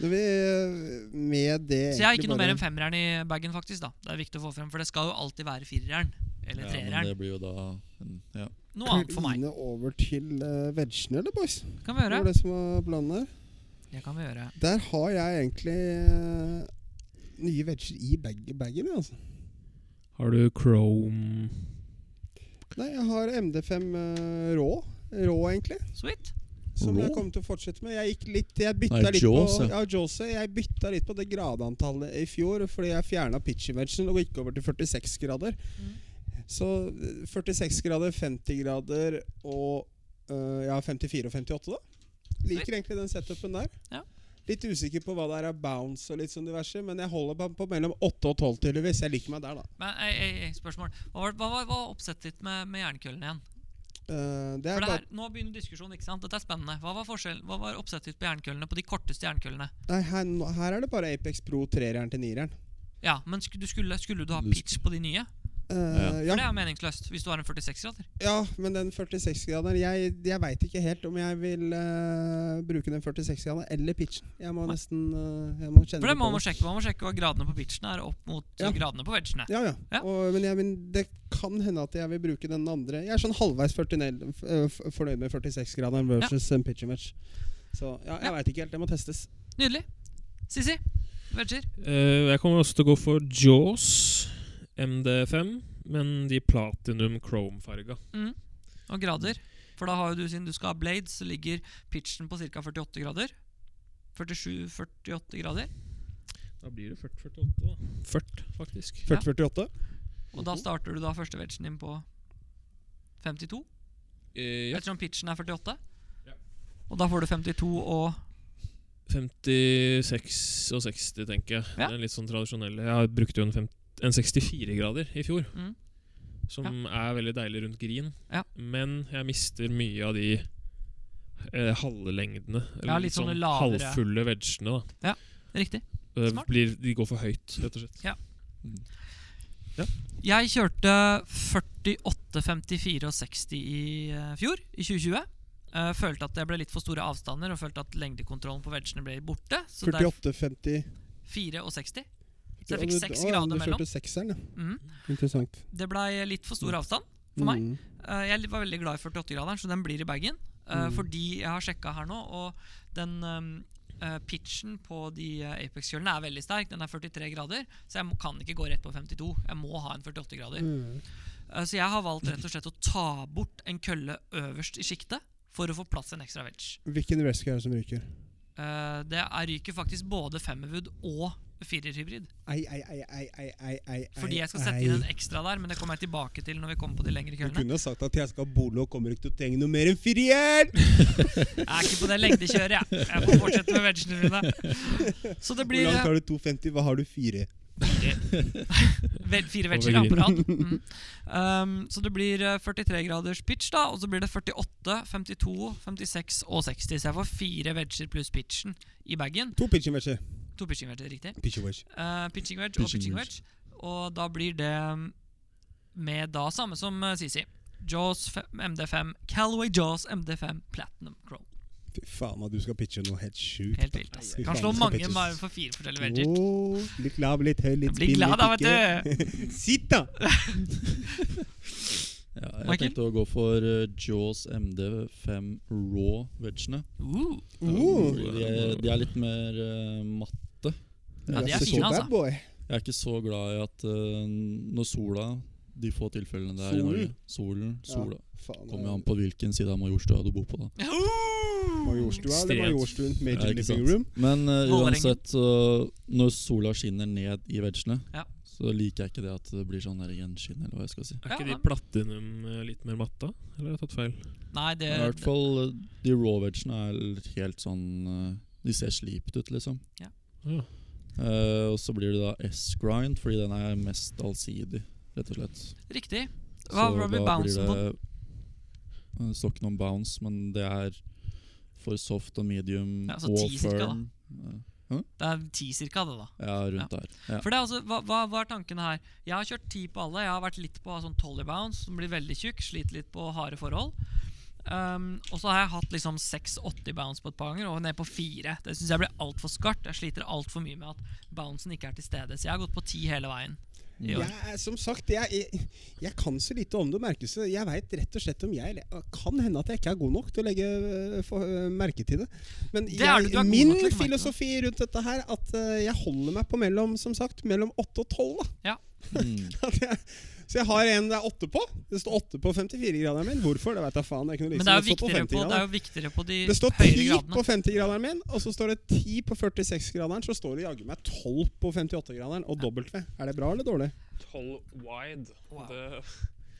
[SPEAKER 5] Nå vil jeg eh, med det
[SPEAKER 1] Så jeg har ikke noe mer
[SPEAKER 5] egentlig bare-
[SPEAKER 1] enn femmerjern i bagen, faktisk. da Det er viktig å få frem, for det skal jo alltid være firerjern. Eller
[SPEAKER 3] Ja, men
[SPEAKER 1] treerjern.
[SPEAKER 3] det blir jo da En- Ja.
[SPEAKER 1] Noe annet for meg.
[SPEAKER 5] Kline over til uh, vegene, eller, boys?
[SPEAKER 1] Kan vi
[SPEAKER 5] Det
[SPEAKER 1] gjøre?
[SPEAKER 5] var det som var planen her.
[SPEAKER 1] Det kan vi gjøre.
[SPEAKER 5] Der har jeg egentlig eh, nye veger i bag bagen, jeg, altså.
[SPEAKER 2] Har du Chrome
[SPEAKER 5] Nei, jeg har MD5 eh, rå. Rå, egentlig.
[SPEAKER 1] Sweet.
[SPEAKER 5] Som jeg
[SPEAKER 3] Rå?
[SPEAKER 5] kommer til å fortsette med. Jeg gikk litt Jeg bytta
[SPEAKER 3] Nei,
[SPEAKER 5] litt
[SPEAKER 3] Jaws,
[SPEAKER 5] på
[SPEAKER 3] ja.
[SPEAKER 5] ja, Jaws, ja. Jeg bytta litt på det gradantallet i fjor, fordi jeg fjerna pitch-vegen og gikk over til 46 grader.
[SPEAKER 1] Mhm.
[SPEAKER 5] Så eh, 46 grader, 50 grader og eh, Ja, 54 og 58, da. Liker egentlig den setupen der.
[SPEAKER 1] Ja.
[SPEAKER 5] Litt usikker på hva det er av bounce og litt sånn diverse, men jeg holder på, på mellom 8 og 12, tydeligvis. Jeg liker meg der, da.
[SPEAKER 1] Men ei, ei, ei, spørsmål. Hva var, hva var, hva var oppsettet ditt med, med jernkøllen igjen?
[SPEAKER 5] Eh, det er
[SPEAKER 1] For det
[SPEAKER 5] bare
[SPEAKER 1] her, Nå begynner diskusjonen, ikke sant? Dette er spennende. Hva var forskjellen? Hva var oppsettet ditt på jernkøllene på de korteste jernkøllene?
[SPEAKER 5] Nei, her, nå- her er det bare Apex Pro 3-eren til 9-eren.
[SPEAKER 1] Ja, men sku- du skulle, skulle du ha
[SPEAKER 3] Du
[SPEAKER 1] pitch på de nye?
[SPEAKER 5] Eh, ja.
[SPEAKER 1] For det er jo meningsløst hvis du har en 46-grader.
[SPEAKER 5] Ja, men den 46-graderen Jeg, jeg veit ikke helt om jeg vil eh, bruke den 46-graderen eller pitchen. Jeg må
[SPEAKER 1] Nei.
[SPEAKER 5] nesten eh, jeg må kjenne
[SPEAKER 1] For det
[SPEAKER 5] litt
[SPEAKER 1] må
[SPEAKER 5] på
[SPEAKER 1] man sjekke. Man må sjekke hva gradene på pitchen er opp mot
[SPEAKER 5] Ja.
[SPEAKER 1] eh, gradene på wedgene.
[SPEAKER 5] Ja, ja.
[SPEAKER 1] Ja.
[SPEAKER 5] Og, men jeg, men det kan hende at jeg vil bruke den andre. Jeg er sånn halvveis 49, f- eh, f- fornøyd med 46-graderen versus en pitcher match. Så ja, jeg
[SPEAKER 1] Ja.
[SPEAKER 5] veit ikke helt. Det må testes.
[SPEAKER 1] Nydelig. Sissi, wedger.
[SPEAKER 2] Eh, jeg kommer også til å gå for Jaws MD5, men de platinum chrome-farga.
[SPEAKER 1] Mm. Og grader. For da har jo du, siden du skal ha blades, så ligger pitchen på ca. 48 grader. 47-48 grader.
[SPEAKER 2] Da blir det 40-48, da. 40, faktisk.
[SPEAKER 5] 40-48?
[SPEAKER 1] Og
[SPEAKER 2] Mhm.
[SPEAKER 1] da starter du da første wedgen din på 52,
[SPEAKER 2] Eh, ja.
[SPEAKER 1] ettersom pitchen er 48.
[SPEAKER 2] Ja.
[SPEAKER 1] Og da får du 52 og
[SPEAKER 2] 56 og 60, tenker jeg.
[SPEAKER 1] Ja.
[SPEAKER 2] Den litt sånn tradisjonelle. Jeg brukte jo en, fem- en 64-grader i fjor,
[SPEAKER 1] Mm.
[SPEAKER 2] som er veldig deilig rundt grin.
[SPEAKER 1] Ja.
[SPEAKER 2] Men jeg mister mye av de eh, halve lengdene. Eller
[SPEAKER 1] Ja, litt
[SPEAKER 2] litt sånn
[SPEAKER 1] sånne lavere.
[SPEAKER 2] halvfulle vegene. da.
[SPEAKER 1] Riktig.
[SPEAKER 2] Eh,
[SPEAKER 1] Smart.
[SPEAKER 2] Blir, de går for høyt, rett og slett.
[SPEAKER 1] Jeg kjørte 48, 54 og 60 i eh, fjor, i 2020. Eh, følte at det ble litt for store avstander og følte at lengdekontrollen på vegene ble borte. Så det er
[SPEAKER 5] 48, 50
[SPEAKER 1] 4 og 60. Så
[SPEAKER 5] Ja,
[SPEAKER 1] jeg fikk
[SPEAKER 5] du-
[SPEAKER 1] 6
[SPEAKER 5] å, ja,
[SPEAKER 1] grader
[SPEAKER 5] Du
[SPEAKER 1] mellom.
[SPEAKER 5] kjørte sekseren, ja.
[SPEAKER 1] Mhm.
[SPEAKER 5] Interessant.
[SPEAKER 1] Det blei litt for stor avstand for meg.
[SPEAKER 5] Mm.
[SPEAKER 1] Eh, jeg var veldig glad i 48-graderen, så den blir i bagen. Eh,
[SPEAKER 5] Mm.
[SPEAKER 1] Fordi jeg har sjekka her nå, og den eh, eh, pitchen på de eh, Apex-kjølene er veldig sterk. Den er 43 grader, så jeg må, kan ikke gå rett på 52. Jeg må ha en 48-grader.
[SPEAKER 5] Mm.
[SPEAKER 1] Eh, Så jeg har valgt rett og slett å ta bort en kølle øverst i sjiktet for å få plass til en ekstra wedge.
[SPEAKER 5] Hvilken rescue er det som ryker?
[SPEAKER 1] Eh, Det er ryker faktisk både femmerwood og firerhybrid.
[SPEAKER 5] Ei, ei, ei, ei, ei, ei, ei
[SPEAKER 1] Fordi jeg skal
[SPEAKER 5] ei,
[SPEAKER 1] sette
[SPEAKER 5] ei.
[SPEAKER 1] inn en ekstra der, men det kommer jeg tilbake til når vi kommer på de lengre
[SPEAKER 5] Du
[SPEAKER 1] køllene.
[SPEAKER 5] kunne ha sagt at jeg skal bolo og kommer ikke til å trenge noe mer enn firehjul!
[SPEAKER 1] Jeg er ikke på det lengdekjøret, jeg. Jeg får fortsette med wedgene mine. Så det
[SPEAKER 5] Hvor
[SPEAKER 1] blir
[SPEAKER 5] langt har du 2,50? Hva har du? Fire?
[SPEAKER 1] eh, Vel, fire wedger da, på rad. Mm. Um, så det blir eh, 43 graders pitch, da. Og så blir det 48, 52, 56 og 60. Så jeg får fire wedger pluss pitchen i bagen.
[SPEAKER 5] To pitching wedger.
[SPEAKER 1] To pitching-wedger, riktig.
[SPEAKER 5] Pitching wedge.
[SPEAKER 1] Eh, pitching wedge og
[SPEAKER 3] Pitching
[SPEAKER 1] pitching wedge.
[SPEAKER 3] wedge.
[SPEAKER 1] Og da blir det mm, med da samme som eh, Sisi. Jaws fe- MD5, Calaway Jaws MD5 Platinum Chrome.
[SPEAKER 5] Fy faen at du skal pitche noe helt sjukt.
[SPEAKER 1] Helt vilt. ass.
[SPEAKER 5] Fy
[SPEAKER 1] Kan
[SPEAKER 5] faen,
[SPEAKER 1] slå
[SPEAKER 5] det skal
[SPEAKER 1] mange
[SPEAKER 5] pitches.
[SPEAKER 1] bare for fire forskjellige wedger.
[SPEAKER 5] Åh, litt lav, litt høy, litt
[SPEAKER 1] Jeg blir
[SPEAKER 5] spinn,
[SPEAKER 1] glad da,
[SPEAKER 5] litt ikke.
[SPEAKER 1] vet du.
[SPEAKER 5] Sitt, da!
[SPEAKER 3] Ja, jeg
[SPEAKER 1] Michael?
[SPEAKER 3] tenkte å gå for eh, Jaws MD5 Raw vegene.
[SPEAKER 1] Uh,
[SPEAKER 5] Oh,
[SPEAKER 3] De, er- de er litt mer eh, matte.
[SPEAKER 1] Ja, de er
[SPEAKER 5] så
[SPEAKER 1] fine,
[SPEAKER 5] bad
[SPEAKER 1] altså.
[SPEAKER 5] Boy.
[SPEAKER 3] Jeg er ikke så glad i at eh, når sola De få tilfellene det er i
[SPEAKER 5] Solen?
[SPEAKER 3] Norge Solen, sola
[SPEAKER 5] Faen,
[SPEAKER 3] Kommer jo an på hvilken side av Majorstua du bor på, da.
[SPEAKER 1] Uh.
[SPEAKER 5] Majorstua eller
[SPEAKER 2] Stred.
[SPEAKER 5] Majorstuen Major
[SPEAKER 3] Ja, ikke
[SPEAKER 5] Living
[SPEAKER 3] sant.
[SPEAKER 5] Room?
[SPEAKER 3] Men eh,
[SPEAKER 1] Vålerengen.
[SPEAKER 3] uansett, så når sola skinner ned i vegene,
[SPEAKER 1] Ja.
[SPEAKER 3] så liker jeg ikke det at det blir sånn der gjenskinn, eller hva jeg skal si.
[SPEAKER 2] Er ikke
[SPEAKER 1] Ja.
[SPEAKER 2] de platinum eh, litt mer matta? Eller har jeg tatt feil?
[SPEAKER 1] Nei, det,
[SPEAKER 3] I hvert fall eh, de raw vegene er l- helt sånn eh, De ser slipt ut, liksom.
[SPEAKER 2] Ja.
[SPEAKER 3] Eh, og så blir det da S-grind, fordi den er mest allsidig, rett og slett.
[SPEAKER 1] riktig. Hva hva
[SPEAKER 3] Så
[SPEAKER 1] blir
[SPEAKER 3] da blir
[SPEAKER 1] bouncen på den?
[SPEAKER 3] det- Det står ikke noe om bounce, men det er for soft og medium
[SPEAKER 1] Ja, så
[SPEAKER 3] og
[SPEAKER 1] 10 cirka, da.
[SPEAKER 3] firm.
[SPEAKER 1] Det er ti cirka, det, da.
[SPEAKER 3] Ja, rundt der. Ja.
[SPEAKER 1] For det er altså, hva, hva, hva er tankene her? Jeg har kjørt ti på alle. Jeg har vært litt på sånn tolly bounce, som blir veldig tjukk. Sliter litt på harde forhold. Um, og så har jeg hatt liksom 6-80 bounce på et par ganger, og ned på fire. Det syns jeg blir altfor skarpt. Jeg sliter altfor mye med at bouncen ikke er til stede. Så jeg har gått på ti hele veien. i år.
[SPEAKER 5] Jeg, som sagt, jeg, jeg, jeg kan så lite om det merkes. Jeg veit rett og slett om jeg eller- Kan hende at jeg ikke er god nok til å legge øh, for, øh, merke til det. Men
[SPEAKER 1] Det er
[SPEAKER 5] jeg,
[SPEAKER 1] du, du er god
[SPEAKER 5] min
[SPEAKER 1] nok til å merke det.
[SPEAKER 5] filosofi rundt dette her at øh, jeg holder meg på mellom som sagt, mellom 8 og 12. Da.
[SPEAKER 3] Mm.
[SPEAKER 5] *laughs* At jeg, så jeg har en det er 8 på. Det står 8 på 54-graderen min. Hvorfor? Det veit jeg faen. Jeg kunne
[SPEAKER 1] Men
[SPEAKER 5] liksom
[SPEAKER 1] det er, jo
[SPEAKER 5] det
[SPEAKER 1] viktigere
[SPEAKER 5] står på
[SPEAKER 1] på, det
[SPEAKER 5] 50-graderen.
[SPEAKER 1] er jo viktigere på de
[SPEAKER 5] Det står 10
[SPEAKER 1] høyere
[SPEAKER 5] på
[SPEAKER 1] gradene.
[SPEAKER 5] 50-graderen min, og så står det 10 på 46-graderen. Så står det jaggu meg 12 på 58-graderen og W. Er det bra eller dårlig?
[SPEAKER 2] Tall wide.
[SPEAKER 1] Wow.
[SPEAKER 2] Det,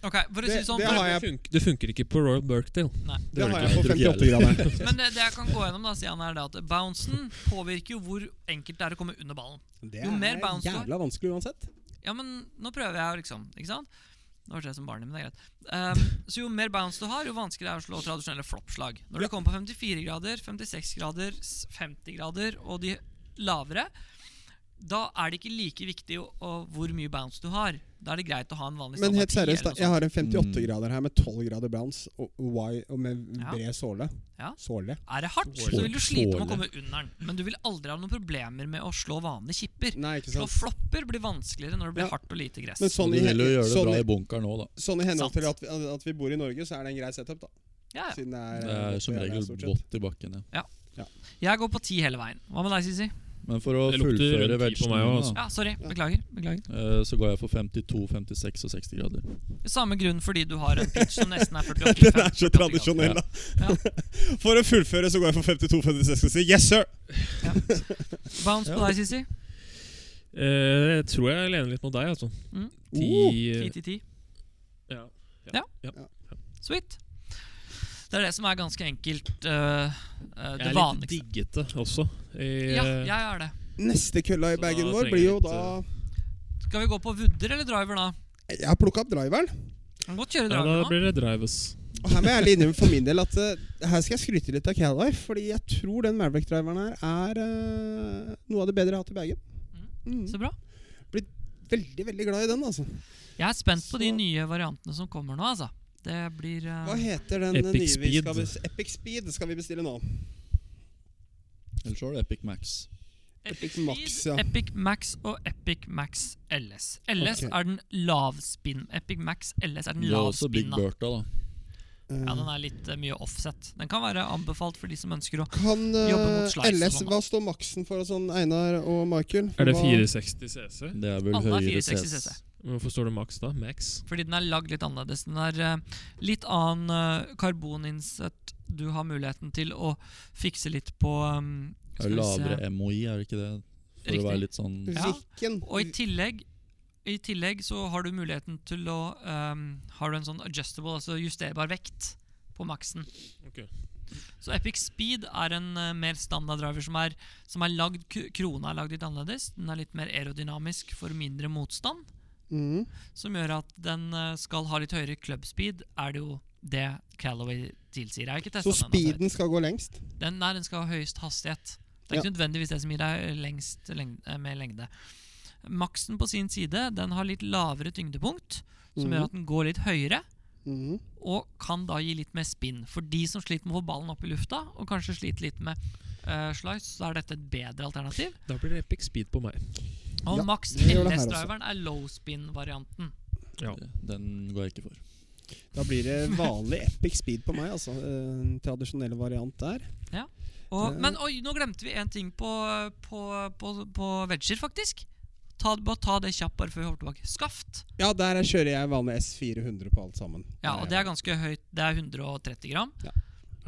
[SPEAKER 1] Ok, for å si det sånn
[SPEAKER 5] Det
[SPEAKER 1] for-
[SPEAKER 5] har jeg-
[SPEAKER 2] funker, det funker ikke på Royal Birkdale.
[SPEAKER 1] Nei.
[SPEAKER 2] Det
[SPEAKER 5] Det
[SPEAKER 2] gjør
[SPEAKER 5] har
[SPEAKER 2] det
[SPEAKER 5] jeg på
[SPEAKER 3] Jeg tror ikke jeg
[SPEAKER 5] 58-graderen.
[SPEAKER 1] Men det, det jeg kan gå gjennom, da, siden er det at bouncen påvirker jo hvor enkelt det er å komme under ballen.
[SPEAKER 5] Det
[SPEAKER 1] Jo mer
[SPEAKER 5] er
[SPEAKER 1] bounce du har.
[SPEAKER 5] jævla vanskelig uansett.
[SPEAKER 1] Ja, men nå prøver jeg, liksom. Ikke sant? Nå hørtes jeg som barnet, men det er greit. Ehm, så jo mer bounce du har, jo vanskeligere er det å slå tradisjonelle floppslag. Når du kommer på 54 grader, 56 grader, s- 50 grader og de lavere, da er det ikke like viktig å, å, hvor mye bounce du har. Da er det greit å ha en vanlig
[SPEAKER 5] Men
[SPEAKER 3] sånn
[SPEAKER 1] standard
[SPEAKER 5] helt
[SPEAKER 1] 10 eller
[SPEAKER 5] seriøst, da.
[SPEAKER 1] noe
[SPEAKER 5] Jeg
[SPEAKER 1] sånt.
[SPEAKER 5] har en
[SPEAKER 3] altså.
[SPEAKER 5] 58-grader her med 12 grader bounce og, og wide- og med
[SPEAKER 1] Ja.
[SPEAKER 5] bred såle.
[SPEAKER 1] Ja.
[SPEAKER 5] Såle.
[SPEAKER 1] Er det hardt, så vil du slite med å komme under den. Men du vil aldri ha noen problemer med å slå vanlige kipper.
[SPEAKER 5] Nei, ikke
[SPEAKER 1] Slå
[SPEAKER 5] sant.
[SPEAKER 1] flopper blir vanskeligere når det blir
[SPEAKER 5] Ja.
[SPEAKER 1] hardt og lite gress.
[SPEAKER 5] Men
[SPEAKER 3] Så
[SPEAKER 5] sånn
[SPEAKER 3] du
[SPEAKER 5] i,
[SPEAKER 3] vil jo gjøre det
[SPEAKER 5] sånn,
[SPEAKER 3] bra
[SPEAKER 5] i-
[SPEAKER 3] i bunkeren òg, da.
[SPEAKER 5] sånn i henhold
[SPEAKER 1] Sant.
[SPEAKER 5] til at vi, at vi bor i Norge, så er det en grei setup, da.
[SPEAKER 1] ja, ja.
[SPEAKER 5] Siden det er,
[SPEAKER 3] Det er som
[SPEAKER 5] det
[SPEAKER 3] regel
[SPEAKER 5] stort sett. *laughs*
[SPEAKER 3] vått i bakken, ja.
[SPEAKER 1] Jeg går på ti hele veien. Hva med deg, Sisi?
[SPEAKER 3] Men for å
[SPEAKER 2] Det lukter
[SPEAKER 3] fullføre
[SPEAKER 2] rundt ti på meg
[SPEAKER 3] veggen,
[SPEAKER 2] også,
[SPEAKER 1] Ja, sorry. Beklager. beklager.
[SPEAKER 3] eh, så går jeg for 52, 56 og 60 grader.
[SPEAKER 1] Samme grunn fordi du har en pitch som nesten
[SPEAKER 5] *laughs*
[SPEAKER 1] er 48
[SPEAKER 5] Den er
[SPEAKER 1] 48
[SPEAKER 5] så
[SPEAKER 1] grader.
[SPEAKER 5] tradisjonell, da.
[SPEAKER 1] Ja.
[SPEAKER 5] *laughs* For å fullføre så går jeg for 52-56 og sier yes, sir!
[SPEAKER 1] Bounce på deg, Sisi.
[SPEAKER 2] Eh, jeg tror jeg lener litt mot deg, altså.
[SPEAKER 1] Mm.
[SPEAKER 2] Ti,
[SPEAKER 5] Uh,
[SPEAKER 2] eh,
[SPEAKER 1] 10-10-10.
[SPEAKER 2] ja.
[SPEAKER 1] Sweet. Det er det som er ganske enkelt øh, øh,
[SPEAKER 2] Jeg
[SPEAKER 1] det
[SPEAKER 2] er litt
[SPEAKER 1] vanligste.
[SPEAKER 2] diggete også. I,
[SPEAKER 1] Ja,
[SPEAKER 2] eh,
[SPEAKER 1] jeg er det.
[SPEAKER 5] Neste kølla i
[SPEAKER 2] Så da
[SPEAKER 5] bagen
[SPEAKER 2] trenger
[SPEAKER 5] vår blir jo
[SPEAKER 2] jeg litt,
[SPEAKER 5] da
[SPEAKER 1] Skal vi gå på vudder eller driver da?
[SPEAKER 5] Jeg har plukka opp driveren.
[SPEAKER 1] Kan godt kjøre
[SPEAKER 2] ja,
[SPEAKER 1] driver
[SPEAKER 2] da
[SPEAKER 1] nå.
[SPEAKER 2] blir det drivers.
[SPEAKER 5] Og her må jeg ærlig innrømme for min del at eh, her skal jeg skryte litt av Cadife. Fordi jeg tror den Maverick-driveren her er eh, noe av det bedre jeg har hatt i bagen. Mm.
[SPEAKER 1] Så bra.
[SPEAKER 5] Veldig, veldig glad i den, altså.
[SPEAKER 1] Jeg er spent på de
[SPEAKER 5] Så-
[SPEAKER 1] nye variantene som kommer nå, altså. Det blir øh,
[SPEAKER 5] Hva heter den eh,
[SPEAKER 2] Epic
[SPEAKER 5] nye vi skal
[SPEAKER 2] Speed.
[SPEAKER 5] bes- Epic Speed skal vi bestille nå.
[SPEAKER 3] Ellers så er det Epic Max.
[SPEAKER 5] Epic Max, ja.
[SPEAKER 1] Epic Max og Epic Max LS. LS
[SPEAKER 5] Ok.
[SPEAKER 1] er den lavspinn. Epic Max LS er den
[SPEAKER 3] Det er også Big
[SPEAKER 1] lavspinna.
[SPEAKER 3] Bertha, da.
[SPEAKER 5] Eh,
[SPEAKER 1] Ja, den er litt eh, mye offset. Den kan være anbefalt for de som ønsker å
[SPEAKER 5] Kan eh,
[SPEAKER 1] Jobbe mot slice og
[SPEAKER 5] LS
[SPEAKER 1] sånn, da.
[SPEAKER 5] Hva står maksen for og sånn, Einar og Michael?
[SPEAKER 2] Er det
[SPEAKER 5] Hva-
[SPEAKER 2] 460 CC?
[SPEAKER 3] Det er vel
[SPEAKER 1] Alle er
[SPEAKER 3] høyere
[SPEAKER 1] 460
[SPEAKER 3] CS.
[SPEAKER 1] CC.
[SPEAKER 2] Men Hvorfor står det maks da? Max?
[SPEAKER 1] Fordi den er lagd litt annerledes. Den er eh, litt annen eh, karboninnsett. Du har muligheten til å fikse litt på um,
[SPEAKER 3] Det er
[SPEAKER 1] skal vi se.
[SPEAKER 3] lavere MOI, er det ikke det? For å
[SPEAKER 1] Riktig.
[SPEAKER 3] være litt sånn
[SPEAKER 1] Ja.
[SPEAKER 5] Hvilken?
[SPEAKER 1] Og i tillegg i tillegg så har du muligheten til å um, Har du en sånn adjustable, altså justerbar vekt, på maksen.
[SPEAKER 2] Ok.
[SPEAKER 1] Så Epic Speed er en eh, mer standard driver som er, som er lagd k- Krona er lagd litt annerledes. Den er litt mer aerodynamisk for mindre motstand.
[SPEAKER 5] Mhm.
[SPEAKER 1] Som gjør at den eh, skal ha litt høyere club speed, er det jo det Callaway tilsier. Jeg har ikke testet
[SPEAKER 5] Så
[SPEAKER 1] den, altså.
[SPEAKER 5] speeden skal gå lengst?
[SPEAKER 1] den. Nei, den skal ha høyest hastighet. Det er ikke nødvendigvis det som gir deg lengst leng eh, med lengde. Maksen på sin side den har litt lavere tyngdepunkt, som
[SPEAKER 5] Mhm.
[SPEAKER 1] gjør at den går litt høyere.
[SPEAKER 5] Mhm.
[SPEAKER 1] Og kan da gi litt mer spinn. For de som sliter med å få ballen opp i lufta, og kanskje sliter litt med eh, slice, så er dette et bedre alternativ.
[SPEAKER 2] Da blir det epic speed på meg.
[SPEAKER 1] Og
[SPEAKER 5] Ja,
[SPEAKER 1] Max
[SPEAKER 5] det gjør det her også.
[SPEAKER 1] LS-driveren er low spin-varianten.
[SPEAKER 3] Den går jeg ikke for.
[SPEAKER 5] Da blir det vanlig epic speed på meg, altså. En tradisjonell variant der.
[SPEAKER 1] Og,
[SPEAKER 5] Det-
[SPEAKER 1] men oi, nå glemte vi en ting på, på, på, på wedger, faktisk. Ta, bare ta det kjapt bare før vi hopper tilbake. Skaft.
[SPEAKER 5] Ja, der er- kjører jeg vanlig S400 på alt sammen.
[SPEAKER 1] Ja, og det er ganske høyt. Det er 130 gram.
[SPEAKER 2] Nei,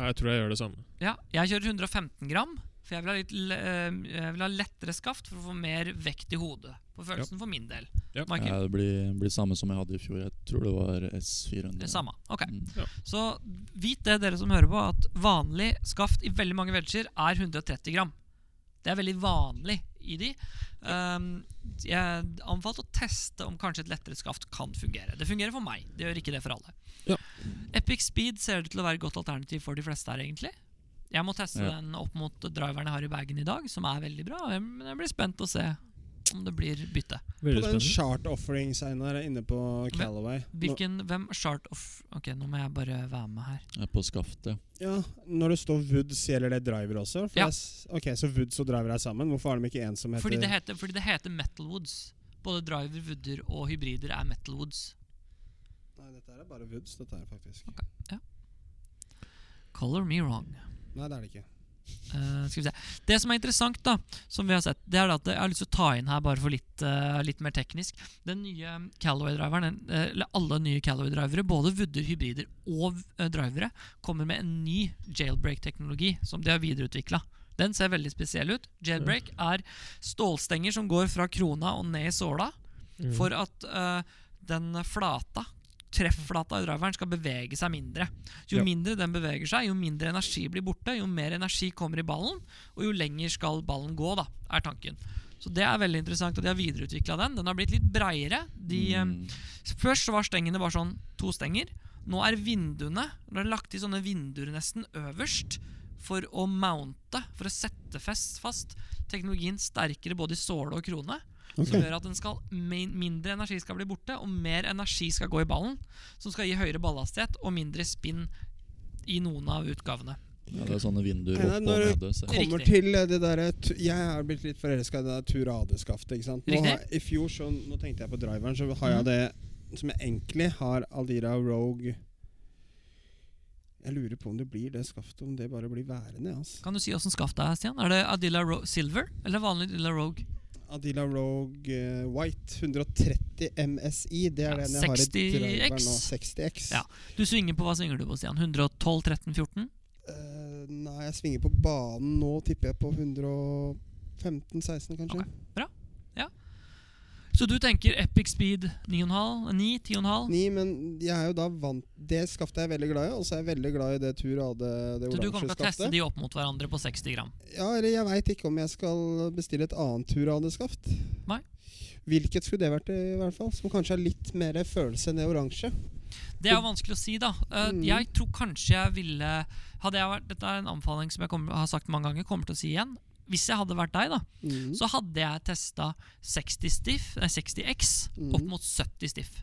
[SPEAKER 2] Jeg tror jeg gjør det samme.
[SPEAKER 1] Ja, jeg kjører 115 gram, for jeg vil ha, litt, le- eh, jeg vil ha lettere skaft for å få mer vekt i hodet. På følelsen for min del.
[SPEAKER 2] Ja.
[SPEAKER 1] Michael,
[SPEAKER 3] Ja, Eh. det blir, blir samme som jeg hadde i fjor. Jeg tror det var S400.
[SPEAKER 1] det samme. Ok.
[SPEAKER 3] Mm.
[SPEAKER 1] Så vit det, dere som hører på, at vanlig skaft i veldig mange wedger er 130 gram. Det er veldig vanlig i de. Ehm, jeg anbefaler å teste om kanskje et lettere skaft kan fungere. Det fungerer for meg, det gjør ikke det for alle.
[SPEAKER 2] Ja.
[SPEAKER 1] Epic Speed ser det til å være et godt alternativ for de fleste her, egentlig. Jeg må teste
[SPEAKER 3] Ja.
[SPEAKER 1] den opp mot driveren jeg har i bagen i dag, som er veldig bra. og jeg- Men jeg blir spent å se om det blir bytte.
[SPEAKER 5] På
[SPEAKER 2] Veldig
[SPEAKER 5] den
[SPEAKER 2] spennende.
[SPEAKER 5] chart offerings Einar, inne på Callaway. Nå-
[SPEAKER 1] Hvilken, hvem Shart of Ok, nå må jeg bare være med her.
[SPEAKER 3] Jeg er på skaftet, ja.
[SPEAKER 5] Ja, når det står Woods, gjelder det driver også? For
[SPEAKER 1] Ja.
[SPEAKER 5] jeg s- Ok, Så Woods og driver er sammen? Hvorfor har de ikke en som heter
[SPEAKER 1] Fordi det heter, fordi det heter Metalwoods. Både driver, woodder og hybrider er metalwoods.
[SPEAKER 5] Nei, dette her er bare Woods, dette her, faktisk.
[SPEAKER 1] Color me wrong.
[SPEAKER 5] Nei, det er det ikke.
[SPEAKER 1] Eh, skal vi se. Det som er interessant, da, som vi har sett, det er da at jeg har lyst til å ta inn her bare for litt, eh, litt mer teknisk. Den nye Callaway-driveren, den- eh, eller alle nye Callaway-drivere, både Woodder, hybrider og eh, drivere, kommer med en ny jailbreak-teknologi som de har videreutvikla. Den ser veldig spesiell ut. Jailbreak er stålstenger som går fra krona og ned i såla
[SPEAKER 2] Mm.
[SPEAKER 1] for at eh, den flata Treffflata i driveren skal bevege seg mindre. Jo
[SPEAKER 2] Ja.
[SPEAKER 1] mindre den beveger seg, jo mindre energi blir borte, jo mer energi kommer i ballen, og jo lenger skal ballen gå, da, er tanken. Så det er veldig interessant, og de har videreutvikla den. Den har blitt litt breiere. De, eh,
[SPEAKER 3] Mm.
[SPEAKER 1] Først så var stengene bare sånn to stenger. Nå er vinduene Nå er det lagt i sånne vinduer nesten øverst for å mounte, for å sette fest fast teknologien sterkere både i såle og krone. Som gjør at den skal, min- mindre energi skal bli borte, og mer energi skal gå i ballen. Som skal gi høyere ballhastighet og mindre spinn i noen av utgavene.
[SPEAKER 3] Ja, det er sånne vinduer
[SPEAKER 5] Nei,
[SPEAKER 3] opp
[SPEAKER 5] nei,
[SPEAKER 3] og
[SPEAKER 5] når-
[SPEAKER 3] nede. ser jeg.
[SPEAKER 5] Kommer
[SPEAKER 1] Riktig.
[SPEAKER 5] til eh, det derre tu- Jeg er blitt litt forelska i det der Turadeskaftet. ikke sant? Nå,
[SPEAKER 1] Riktig. Mm.
[SPEAKER 5] har, I fjor, så, nå tenkte jeg på driveren, så har jeg det som jeg egentlig har Aldira Rogue Jeg lurer på om det blir det skaftet, om det bare blir værende. altså.
[SPEAKER 1] Kan du si åssen skaftet er, Stian? Er det Adilla Ro Silver eller vanlig Adilla Rogue?
[SPEAKER 5] Adila Rogue eh, White 130 MSI. Det
[SPEAKER 1] Ja,
[SPEAKER 5] er den jeg har i
[SPEAKER 1] 60X.
[SPEAKER 5] driveren nå. 60X.
[SPEAKER 1] Ja. Du svinger på hva svinger du på, Stian? 112, 13, 14?
[SPEAKER 5] Eh, nei, jeg svinger på banen nå, tipper jeg på 115-16, kanskje.
[SPEAKER 1] Ok. Så du tenker Epic Speed 9,5? 9, 10,5?
[SPEAKER 5] Ni, men jeg er jo da vant Det skaftet er jeg veldig glad i, og så er jeg veldig glad i det Tur AD, det
[SPEAKER 1] Så du kommer
[SPEAKER 5] oransje
[SPEAKER 1] til å teste
[SPEAKER 5] skaftet.
[SPEAKER 1] de opp mot hverandre på 60 gram?
[SPEAKER 5] Ja, eller jeg veit ikke om jeg skal bestille et annet Tur AD-skaft.
[SPEAKER 1] Nei.
[SPEAKER 5] Hvilket skulle det vært, i hvert fall? Som kanskje er litt mer følelse enn det oransje.
[SPEAKER 1] Det er jo vanskelig å si, da. Eh,
[SPEAKER 5] Mm.
[SPEAKER 1] Jeg tror kanskje jeg ville hadde jeg vært, Dette er en anbefaling som jeg kommer, har sagt mange ganger, kommer til å si igjen. Hvis jeg hadde vært deg, da,
[SPEAKER 5] Mm.
[SPEAKER 1] så hadde jeg testa 60 stiff, nei, 60X opp
[SPEAKER 5] Mhm.
[SPEAKER 1] mot 70 stiff.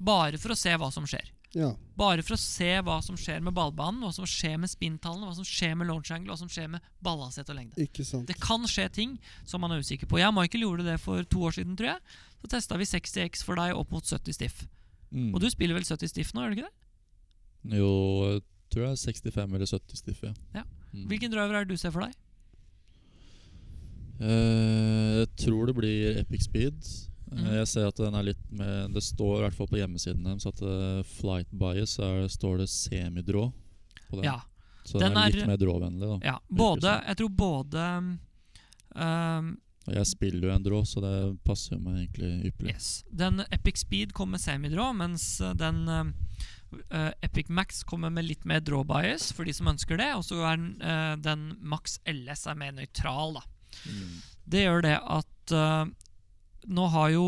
[SPEAKER 1] Bare for å se hva som skjer.
[SPEAKER 5] Ja.
[SPEAKER 1] Bare for å se hva som skjer med ballbanen, hva som skjer med spinntallene, hva som skjer med launch angle, hva som skjer med ballhastighet og lengde.
[SPEAKER 5] Ikke sant.
[SPEAKER 1] Det kan skje ting som man er usikker på. Jeg og Michael gjorde det for to år siden, tror jeg. Så testa vi 60X for deg opp mot 70 stiff.
[SPEAKER 3] Mm.
[SPEAKER 1] Og du spiller vel 70 stiff nå, gjør du ikke det?
[SPEAKER 3] Jo, jeg tror jeg er 65 eller 70 stiff, ja.
[SPEAKER 1] Ja.
[SPEAKER 3] Mm.
[SPEAKER 1] Hvilken driver er det du ser for deg?
[SPEAKER 3] Eh, jeg tror det blir Epic Speed. Eh,
[SPEAKER 1] Mhm.
[SPEAKER 3] Jeg ser at den er litt med Det står i hvert fall på hjemmesiden deres at eh, Flight Bias er, står det semidrå på den.
[SPEAKER 1] Ja.
[SPEAKER 3] Så den,
[SPEAKER 1] Den
[SPEAKER 3] er
[SPEAKER 1] er-
[SPEAKER 3] litt mer dråvennlig, da.
[SPEAKER 1] ja. Både,
[SPEAKER 3] sånn.
[SPEAKER 1] jeg tror både um,
[SPEAKER 3] Og jeg spiller jo en drå, så det passer jo meg egentlig ypperlig.
[SPEAKER 1] Yes. Den Epic Speed kom med semidrå, mens eh, den eh, eh, Epic Max kommer med litt mer draw bias for de som ønsker det. Og så er den, eh, den Max LS er mer nøytral, da.
[SPEAKER 3] Mm.
[SPEAKER 1] Det gjør det at eh, nå har jo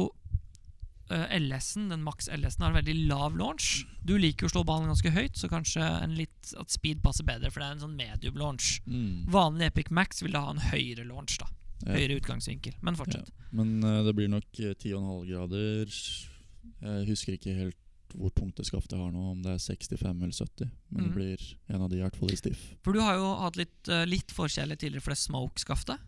[SPEAKER 1] eh, LS-en, den maks LS-en, har en veldig lav launch. Du liker jo å slå ballen ganske høyt, så kanskje en litt, at speed passer bedre, for det er en sånn medium launch.
[SPEAKER 3] Mm.
[SPEAKER 1] Vanlig Epic Max vil da ha en høyere launch, da.
[SPEAKER 3] Ja.
[SPEAKER 1] Høyere utgangsvinkel. Men fortsett.
[SPEAKER 3] Men eh, det blir nok eh, 10,5 grader. Jeg husker ikke helt hvor tungt det skaftet jeg har nå, om det er 65 eller 70. Men
[SPEAKER 1] Mhm.
[SPEAKER 3] det blir en av de i hvert fall i stiff.
[SPEAKER 1] For du har jo hatt litt, uh, litt forskjellig tidligere for det smoke-skaftet.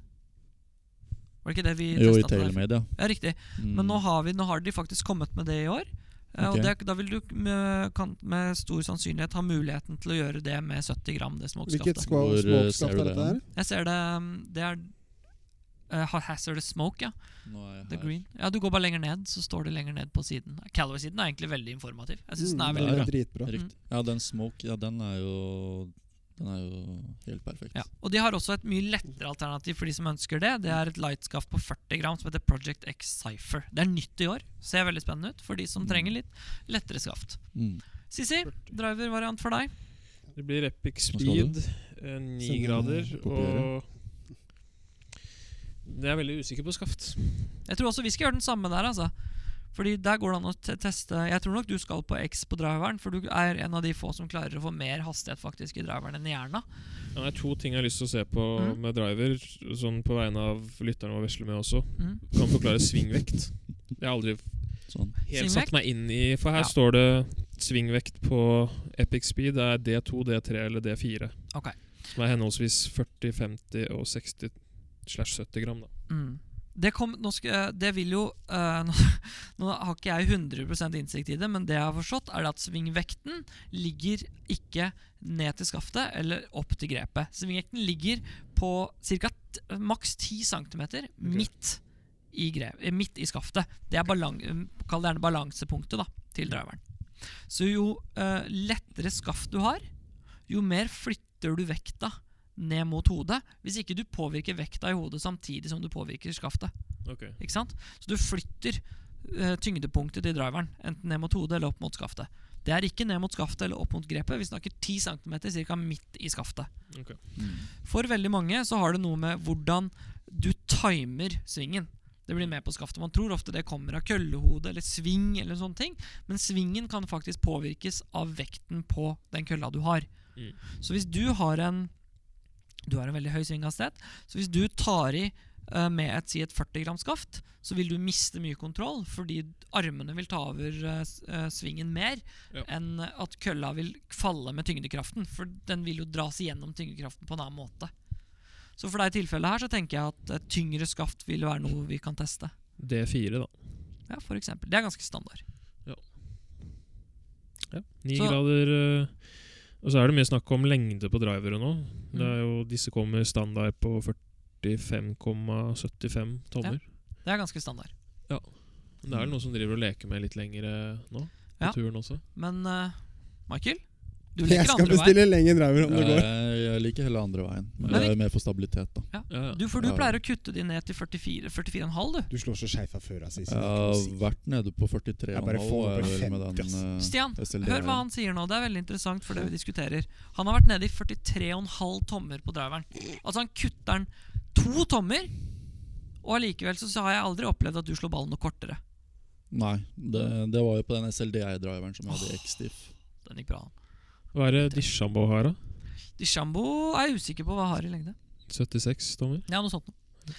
[SPEAKER 1] Var det ikke det vi
[SPEAKER 3] Jo, i
[SPEAKER 1] testet til deg?
[SPEAKER 3] Tailmade, ja.
[SPEAKER 1] Ja, riktig.
[SPEAKER 3] Mm.
[SPEAKER 1] Men nå har, vi, nå har de faktisk kommet med det i år. Eh, Og
[SPEAKER 3] Ok.
[SPEAKER 1] det, da vil du med, kan, med stor sannsynlighet ha muligheten til å gjøre det med 70 gram. det smokeskaftet.
[SPEAKER 5] Hvilket skva-
[SPEAKER 3] Hvor, eh, ser
[SPEAKER 5] smokeskaft
[SPEAKER 3] du
[SPEAKER 5] er
[SPEAKER 3] det
[SPEAKER 5] dette her?
[SPEAKER 1] Jeg ser det um, Det er eh, Ha- Hazardous Smoke, ja.
[SPEAKER 3] Nå er jeg
[SPEAKER 1] The
[SPEAKER 3] her.
[SPEAKER 1] Green. Ja, Du går bare lenger ned, så står det lenger ned på siden. Callaway-siden er egentlig veldig informativ. Jeg synes den er
[SPEAKER 5] Mm,
[SPEAKER 1] veldig
[SPEAKER 3] der,
[SPEAKER 1] bra.
[SPEAKER 3] ja.
[SPEAKER 5] dritbra.
[SPEAKER 3] Riktig. Ja, den smoke, ja, den er jo Den er jo helt perfekt.
[SPEAKER 1] Ja. Og de har også et mye lettere alternativ for de som ønsker det. Det er et lightskaft på 40 gram som heter Project X Cypher. Det er nytt i år. Ser veldig spennende ut for de som
[SPEAKER 3] Mm.
[SPEAKER 1] trenger litt lettere skaft.
[SPEAKER 3] Mm.
[SPEAKER 1] Sissi, drivervariant for deg.
[SPEAKER 2] Det blir Epic
[SPEAKER 3] Hva skal du?
[SPEAKER 2] Speed, eh, ni
[SPEAKER 5] Send, eh,
[SPEAKER 2] grader,
[SPEAKER 3] kopiere.
[SPEAKER 2] og Jeg er veldig usikker på skaft.
[SPEAKER 1] Jeg tror også vi skal gjøre den samme der, altså. Fordi der går det an å te teste Jeg tror nok du skal på X på driveren, for du er en av de få som klarer å få mer hastighet faktisk i driveren enn i hjerna.
[SPEAKER 2] Ja, Det er to ting jeg har lyst til å se på
[SPEAKER 1] Mhm.
[SPEAKER 2] med driver, sånn på vegne av lytterne og vesle med også.
[SPEAKER 1] Mm.
[SPEAKER 2] Kan forklare svingvekt. Jeg har aldri
[SPEAKER 3] Sånn.
[SPEAKER 2] helt
[SPEAKER 1] Svingvekt?
[SPEAKER 2] satt meg inn i For her
[SPEAKER 1] Ja.
[SPEAKER 2] står det svingvekt på Epic Speed. Det er D2, D3 eller D4.
[SPEAKER 1] Ok.
[SPEAKER 2] Som er henholdsvis 40, 50 og 60 slash 70 gram, da.
[SPEAKER 1] Mm. Det, kom, nå skal, det vil jo eh, *laughs* nå, nå har ikke jeg 100 innsikt i det, men det jeg har forstått, er at svingvekten ligger ikke ned til skaftet eller opp til grepet. Svingvekten ligger på ca. maks 10 cm midt, i grep, eh, midt i skaftet. Det er balan, eh, Kall det gjerne balansepunktet da, til driveren. Så jo eh, lettere skaft du har, jo mer flytter du vekta ned mot hodet, hvis ikke du påvirker vekta i hodet samtidig som du påvirker skaftet.
[SPEAKER 2] Ok.
[SPEAKER 1] Ikke sant? Så du flytter eh, tyngdepunktet til driveren, enten ned mot hodet eller opp mot skaftet. Det er ikke ned mot skaftet eller opp mot grepet. Vi snakker 10 cm cirka midt i skaftet.
[SPEAKER 2] Ok.
[SPEAKER 1] For veldig mange så har det noe med hvordan du timer svingen. Det blir med på skaftet. Man tror ofte det kommer av køllehode eller sving, eller sånne ting, men svingen kan faktisk påvirkes av vekten på den kølla du har.
[SPEAKER 2] Mm.
[SPEAKER 1] Så hvis du har en Du har en veldig høy svinghastighet, så hvis du tar i eh, med et, si et 40 gram skaft, så vil du miste mye kontroll fordi armene vil ta over eh, s- eh, svingen mer
[SPEAKER 2] Ja.
[SPEAKER 1] enn at kølla vil falle med tyngdekraften. For den vil jo dras igjennom tyngdekraften på en annen måte. Så for deg i tilfellet her så tenker jeg at et tyngre skaft vil være noe vi kan teste.
[SPEAKER 2] D4, da.
[SPEAKER 1] Ja, for eksempel. Det er ganske standard.
[SPEAKER 2] Ja. Ni
[SPEAKER 1] Så-
[SPEAKER 2] grader eh, Og så er det mye snakk om lengde på drivere nå. Det er
[SPEAKER 1] Mm.
[SPEAKER 2] jo, disse kommer standard på 45,75 tommer.
[SPEAKER 1] Det er ganske standard.
[SPEAKER 2] Men Det er vel noen som driver og leker med litt lengre nå? På
[SPEAKER 1] Ja.
[SPEAKER 2] turen også?
[SPEAKER 1] Men eh, Michael, du
[SPEAKER 5] *laughs* Jeg
[SPEAKER 1] leker
[SPEAKER 5] skal
[SPEAKER 1] andre veien.
[SPEAKER 5] bestille lenge driver om det
[SPEAKER 3] Jeg,
[SPEAKER 5] går.
[SPEAKER 3] Eh, jeg liker heller andre veien.
[SPEAKER 1] Men
[SPEAKER 3] Men det er mer for stabilitet, da.
[SPEAKER 2] Ja, ja.
[SPEAKER 1] Du, for du
[SPEAKER 3] Ja.
[SPEAKER 1] pleier å kutte de ned til 44 44,5, du.
[SPEAKER 5] Du slår så skeiv av føra, Sisi.
[SPEAKER 3] Jeg har vært nede på 43,5
[SPEAKER 5] Jeg bare får
[SPEAKER 3] og er
[SPEAKER 5] over
[SPEAKER 3] vel med
[SPEAKER 5] 50, ass.
[SPEAKER 3] den, eh,
[SPEAKER 1] Stian,
[SPEAKER 3] SLD
[SPEAKER 1] hør hva han sier nå. Det er veldig interessant for det vi diskuterer. Han har vært nede i 43,5 tommer på driveren. Altså, han kutter den to tommer, og allikevel så, så har jeg aldri opplevd at du slår ballen noe kortere.
[SPEAKER 3] Nei, det, det var jo på den SLDI-driveren som jeg hadde i X-Diff.
[SPEAKER 1] Den gikk bra.
[SPEAKER 2] Hva er det Dishambo har, da?
[SPEAKER 1] Dishambo er jeg usikker på hva har i lengde.
[SPEAKER 2] 76 tommer?
[SPEAKER 1] Ja, noe sånt noe.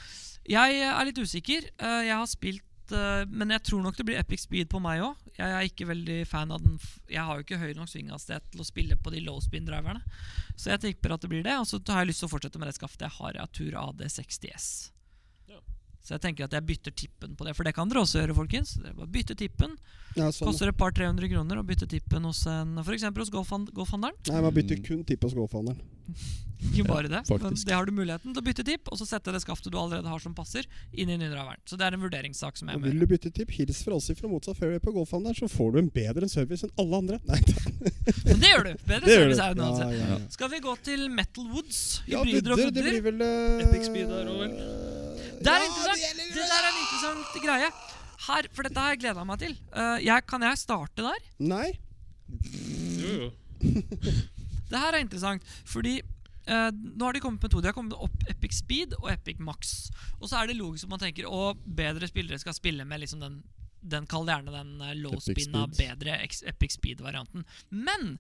[SPEAKER 1] Jeg er litt usikker. Eh, Jeg har spilt eh, Men jeg tror nok det blir epic speed på meg òg. Jeg er ikke veldig fan av den f- Jeg har jo ikke høy nok svinghastighet til å spille på de low spin-driverne. Så jeg tipper at det blir det. Og så har jeg lyst til å fortsette med det skaftet jeg har av Tur AD60S.
[SPEAKER 2] Ja.
[SPEAKER 1] Så jeg tenker at jeg bytter tippen på det, for det kan dere også gjøre, folkens. Dere bare bytter tippen.
[SPEAKER 5] Ja, sånn.
[SPEAKER 1] Koster et par 300 kroner å bytte tippen hos en f.eks. hos golfhand- golfhandleren.
[SPEAKER 5] Nei, man bytter
[SPEAKER 3] Mm.
[SPEAKER 5] kun tipp og skålfanderen.
[SPEAKER 1] Ikke bare det, men
[SPEAKER 3] faktisk.
[SPEAKER 1] det har du muligheten til å bytte tipp, og så sette det skaftet du allerede har som passer, inn i nydraveren. Så det er en vurderingssak som jeg
[SPEAKER 5] Og
[SPEAKER 1] må
[SPEAKER 5] vil
[SPEAKER 1] gjøre.
[SPEAKER 5] du bytte tipp, hils fra oss fra motsatt fairway på golfhandelen, så får du en bedre service enn alle andre. Nei, *laughs* det,
[SPEAKER 1] Men det gjør du! Bedre
[SPEAKER 5] det gjør du.
[SPEAKER 1] service er jo noe
[SPEAKER 5] Ja,
[SPEAKER 1] annet.
[SPEAKER 5] ja, ja.
[SPEAKER 1] Skal vi gå til Metal Woods?
[SPEAKER 5] Ja,
[SPEAKER 1] Hybrider og
[SPEAKER 5] Budder, det
[SPEAKER 1] budder?
[SPEAKER 5] blir vel eh,
[SPEAKER 2] Epic Speed der også, vel?
[SPEAKER 1] Det er
[SPEAKER 5] ja,
[SPEAKER 1] interessant!
[SPEAKER 5] gjelder
[SPEAKER 1] Det
[SPEAKER 5] vel-
[SPEAKER 1] der er en interessant greie. Her, for dette har jeg gleda meg til. Eh, jeg, kan jeg starte der?
[SPEAKER 5] Nei.
[SPEAKER 2] Jo, jo.
[SPEAKER 1] Det her er interessant, fordi eh, nå har de kommet med to. De har kommet med opp Epic Speed og Epic Max. Og så er det logisk at man tenker å, bedre spillere skal spille med liksom den den kall gjerne den eh, low-spinna,
[SPEAKER 3] Epic Speed.
[SPEAKER 1] bedre ex- Epic Speed-varianten. Men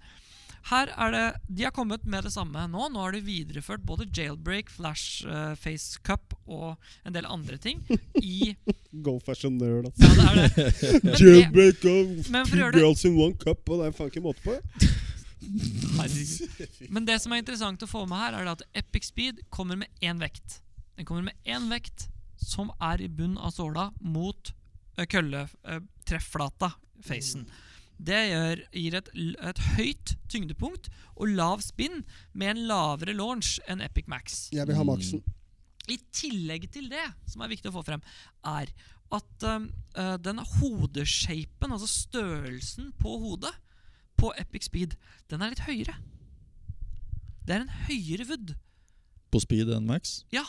[SPEAKER 1] her er det De har kommet med det samme nå. Nå har de videreført både jailbreak, flash eh, face cup og en del andre ting i
[SPEAKER 5] Golf er så nerd, altså.
[SPEAKER 1] Ja, det er det. Men det
[SPEAKER 3] *laughs*
[SPEAKER 5] Jailbreak of
[SPEAKER 1] Men for å
[SPEAKER 5] two
[SPEAKER 1] gjøre det-
[SPEAKER 5] girls in one cup, og det er faen ikke måte på.
[SPEAKER 1] *laughs* Herregud. Men det som er interessant å få med her, er det at Epic Speed kommer med én vekt. Den kommer med én vekt som er i bunn av såla mot eh, kølletreffflata, facen. Det gjør, gir et, l- et høyt tyngdepunkt og lav spinn med en lavere launch enn Epic Max.
[SPEAKER 5] Jeg vil ha maksen.
[SPEAKER 1] I tillegg til det, som er viktig å få frem, er at um, eh, den hodeshapen, altså størrelsen på hodet, på Epic Speed, den er litt høyere. Det er en høyere wood.
[SPEAKER 3] På speed enn max?
[SPEAKER 1] Ja,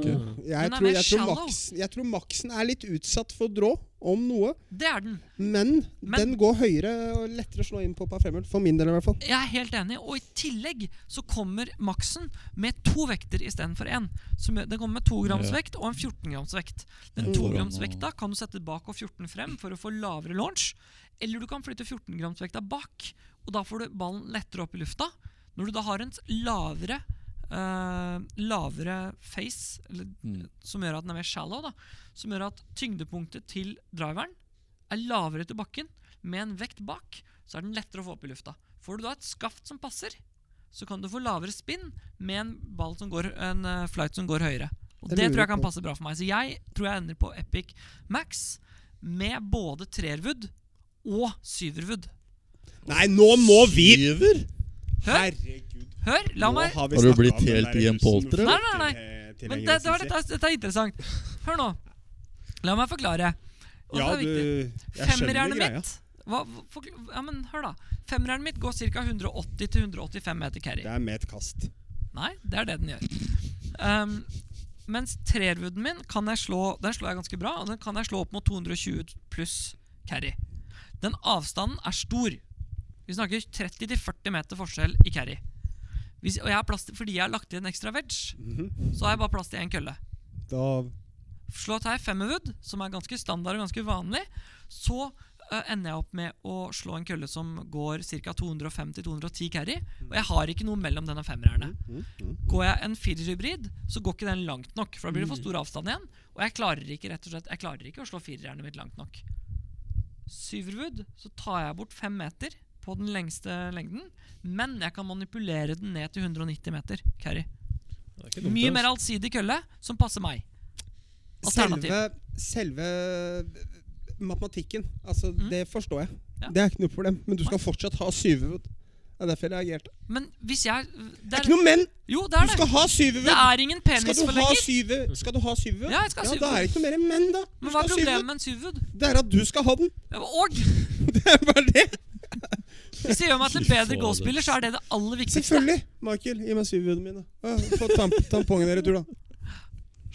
[SPEAKER 2] Ah.
[SPEAKER 5] Jeg
[SPEAKER 1] Mm. Den er
[SPEAKER 5] tror,
[SPEAKER 1] mer
[SPEAKER 5] jeg, tror
[SPEAKER 1] shallow.
[SPEAKER 5] maksen, jeg tror maksen er litt utsatt for drå, om noe.
[SPEAKER 1] det er den.
[SPEAKER 5] Men,
[SPEAKER 1] Men-
[SPEAKER 5] den går høyere og lettere å slå inn på par femmer. For min del, i hvert fall.
[SPEAKER 1] Jeg er helt enig, og i tillegg så kommer maksen med to vekter istedenfor én. Som gjør- Den kommer med to grams
[SPEAKER 3] Ja.
[SPEAKER 1] vekt og en 14 grams vekt. Den
[SPEAKER 3] Mm.
[SPEAKER 1] to grams vekta kan du sette bak og 14 frem for å få lavere launch, eller du kan flytte 14 grams vekta bak, og da får du ballen lettere opp i lufta. Når du da har en s- lavere eh, lavere face, eller,
[SPEAKER 3] Mm.
[SPEAKER 1] som gjør at den er mer shallow, da, som gjør at tyngdepunktet til driveren er lavere til bakken, med en vekt bak, så er den lettere å få opp i lufta. Får du da et skaft som passer, så kan du få lavere spinn med en ball som går, en eh, flight som går høyere. Og
[SPEAKER 5] Det
[SPEAKER 1] det
[SPEAKER 5] lurer
[SPEAKER 1] tror jeg
[SPEAKER 5] jeg
[SPEAKER 1] kan
[SPEAKER 5] på.
[SPEAKER 1] passe bra for meg. Så jeg tror jeg ender på Epic Max med både trerwood og syverwood.
[SPEAKER 5] Nei, nå må vi
[SPEAKER 3] Syver?
[SPEAKER 1] Hør,
[SPEAKER 5] Herregud.
[SPEAKER 1] hør, la meg
[SPEAKER 5] Nå vi
[SPEAKER 3] Har du
[SPEAKER 5] snakket
[SPEAKER 3] blitt
[SPEAKER 5] om den
[SPEAKER 3] helt
[SPEAKER 5] der
[SPEAKER 3] hjempoltret?
[SPEAKER 5] russen-
[SPEAKER 1] Nei, nei, nei.
[SPEAKER 5] til- til
[SPEAKER 1] Men
[SPEAKER 5] en
[SPEAKER 1] det, det var,
[SPEAKER 5] russisk.
[SPEAKER 1] dette, er- dette er interessant. Hør nå. La meg forklare. Og
[SPEAKER 5] Ja,
[SPEAKER 1] det er
[SPEAKER 5] du
[SPEAKER 1] viktig.
[SPEAKER 5] Jeg skjønner
[SPEAKER 1] Femmerjernet
[SPEAKER 5] greia.
[SPEAKER 1] mitt hva, hva- forkl- ja, men hør da. Femmerjernet mitt går ca. 180-185 meter carry.
[SPEAKER 5] Det er med et kast.
[SPEAKER 1] Nei, det er det den gjør. Um, mens trerwooden min kan jeg slå Den slår jeg ganske bra, og den kan jeg slå opp mot 220 pluss carry. Den avstanden er stor. Vi snakker 30-40 meter forskjell i carry. Hvis, og jeg har plass til, fordi jeg har lagt til en ekstra wedge,
[SPEAKER 5] Mhm.
[SPEAKER 1] så har jeg bare plass til én kølle.
[SPEAKER 5] Da
[SPEAKER 1] Slå til femmerwood, som er ganske standard og ganske vanlig, så eh, ender jeg opp med å slå en kølle som går ca. 205-210 carry. Og jeg har ikke noe mellom denne femmererne.
[SPEAKER 2] Mm,
[SPEAKER 1] Går jeg en firerhybrid, så går ikke den langt nok. For da
[SPEAKER 2] Mm.
[SPEAKER 1] blir det for stor avstand igjen. Og jeg klarer ikke rett og slett, jeg klarer ikke å slå firerjernet mitt langt nok. Syverwood, så tar jeg bort fem meter på den lengste lengden. Men jeg kan manipulere den ned til 190 meter carry.
[SPEAKER 2] Det er ikke dumt,
[SPEAKER 1] Mye
[SPEAKER 2] altså.
[SPEAKER 1] mer allsidig kølle som passer meg. Alternativ.
[SPEAKER 5] Selve, selve eh, matematikken. Altså,
[SPEAKER 1] Mm.
[SPEAKER 5] Det forstår jeg.
[SPEAKER 1] Ja.
[SPEAKER 5] Det er ikke noe problem. Men du skal fortsatt ha syverwood. Det er derfor jeg reagerte. Det
[SPEAKER 1] Men hvis jeg
[SPEAKER 5] er ikke noe men!
[SPEAKER 1] Jo, det
[SPEAKER 5] Du
[SPEAKER 1] er det.
[SPEAKER 5] skal ha
[SPEAKER 1] Det
[SPEAKER 5] syverwood!
[SPEAKER 1] er ingen
[SPEAKER 5] Skal du ha
[SPEAKER 1] penisforlenger.
[SPEAKER 5] syve- skal du ha syverwood?
[SPEAKER 1] Ja, jeg skal ha
[SPEAKER 5] da er det ikke noe mer men, da. Du
[SPEAKER 1] Men hva
[SPEAKER 5] skal
[SPEAKER 1] er
[SPEAKER 5] ha
[SPEAKER 1] problemet
[SPEAKER 5] syverwood.
[SPEAKER 1] med en syvud?
[SPEAKER 5] Det er at du skal ha den. *laughs*
[SPEAKER 1] Og
[SPEAKER 5] Det er bare det.
[SPEAKER 1] hvis jeg gjør meg til en bedre golfspiller, så er det det aller viktigste.
[SPEAKER 5] Selvfølgelig. Michael, gi meg syverwoodene mine. Ja, Få tamp tampongen i retur, da.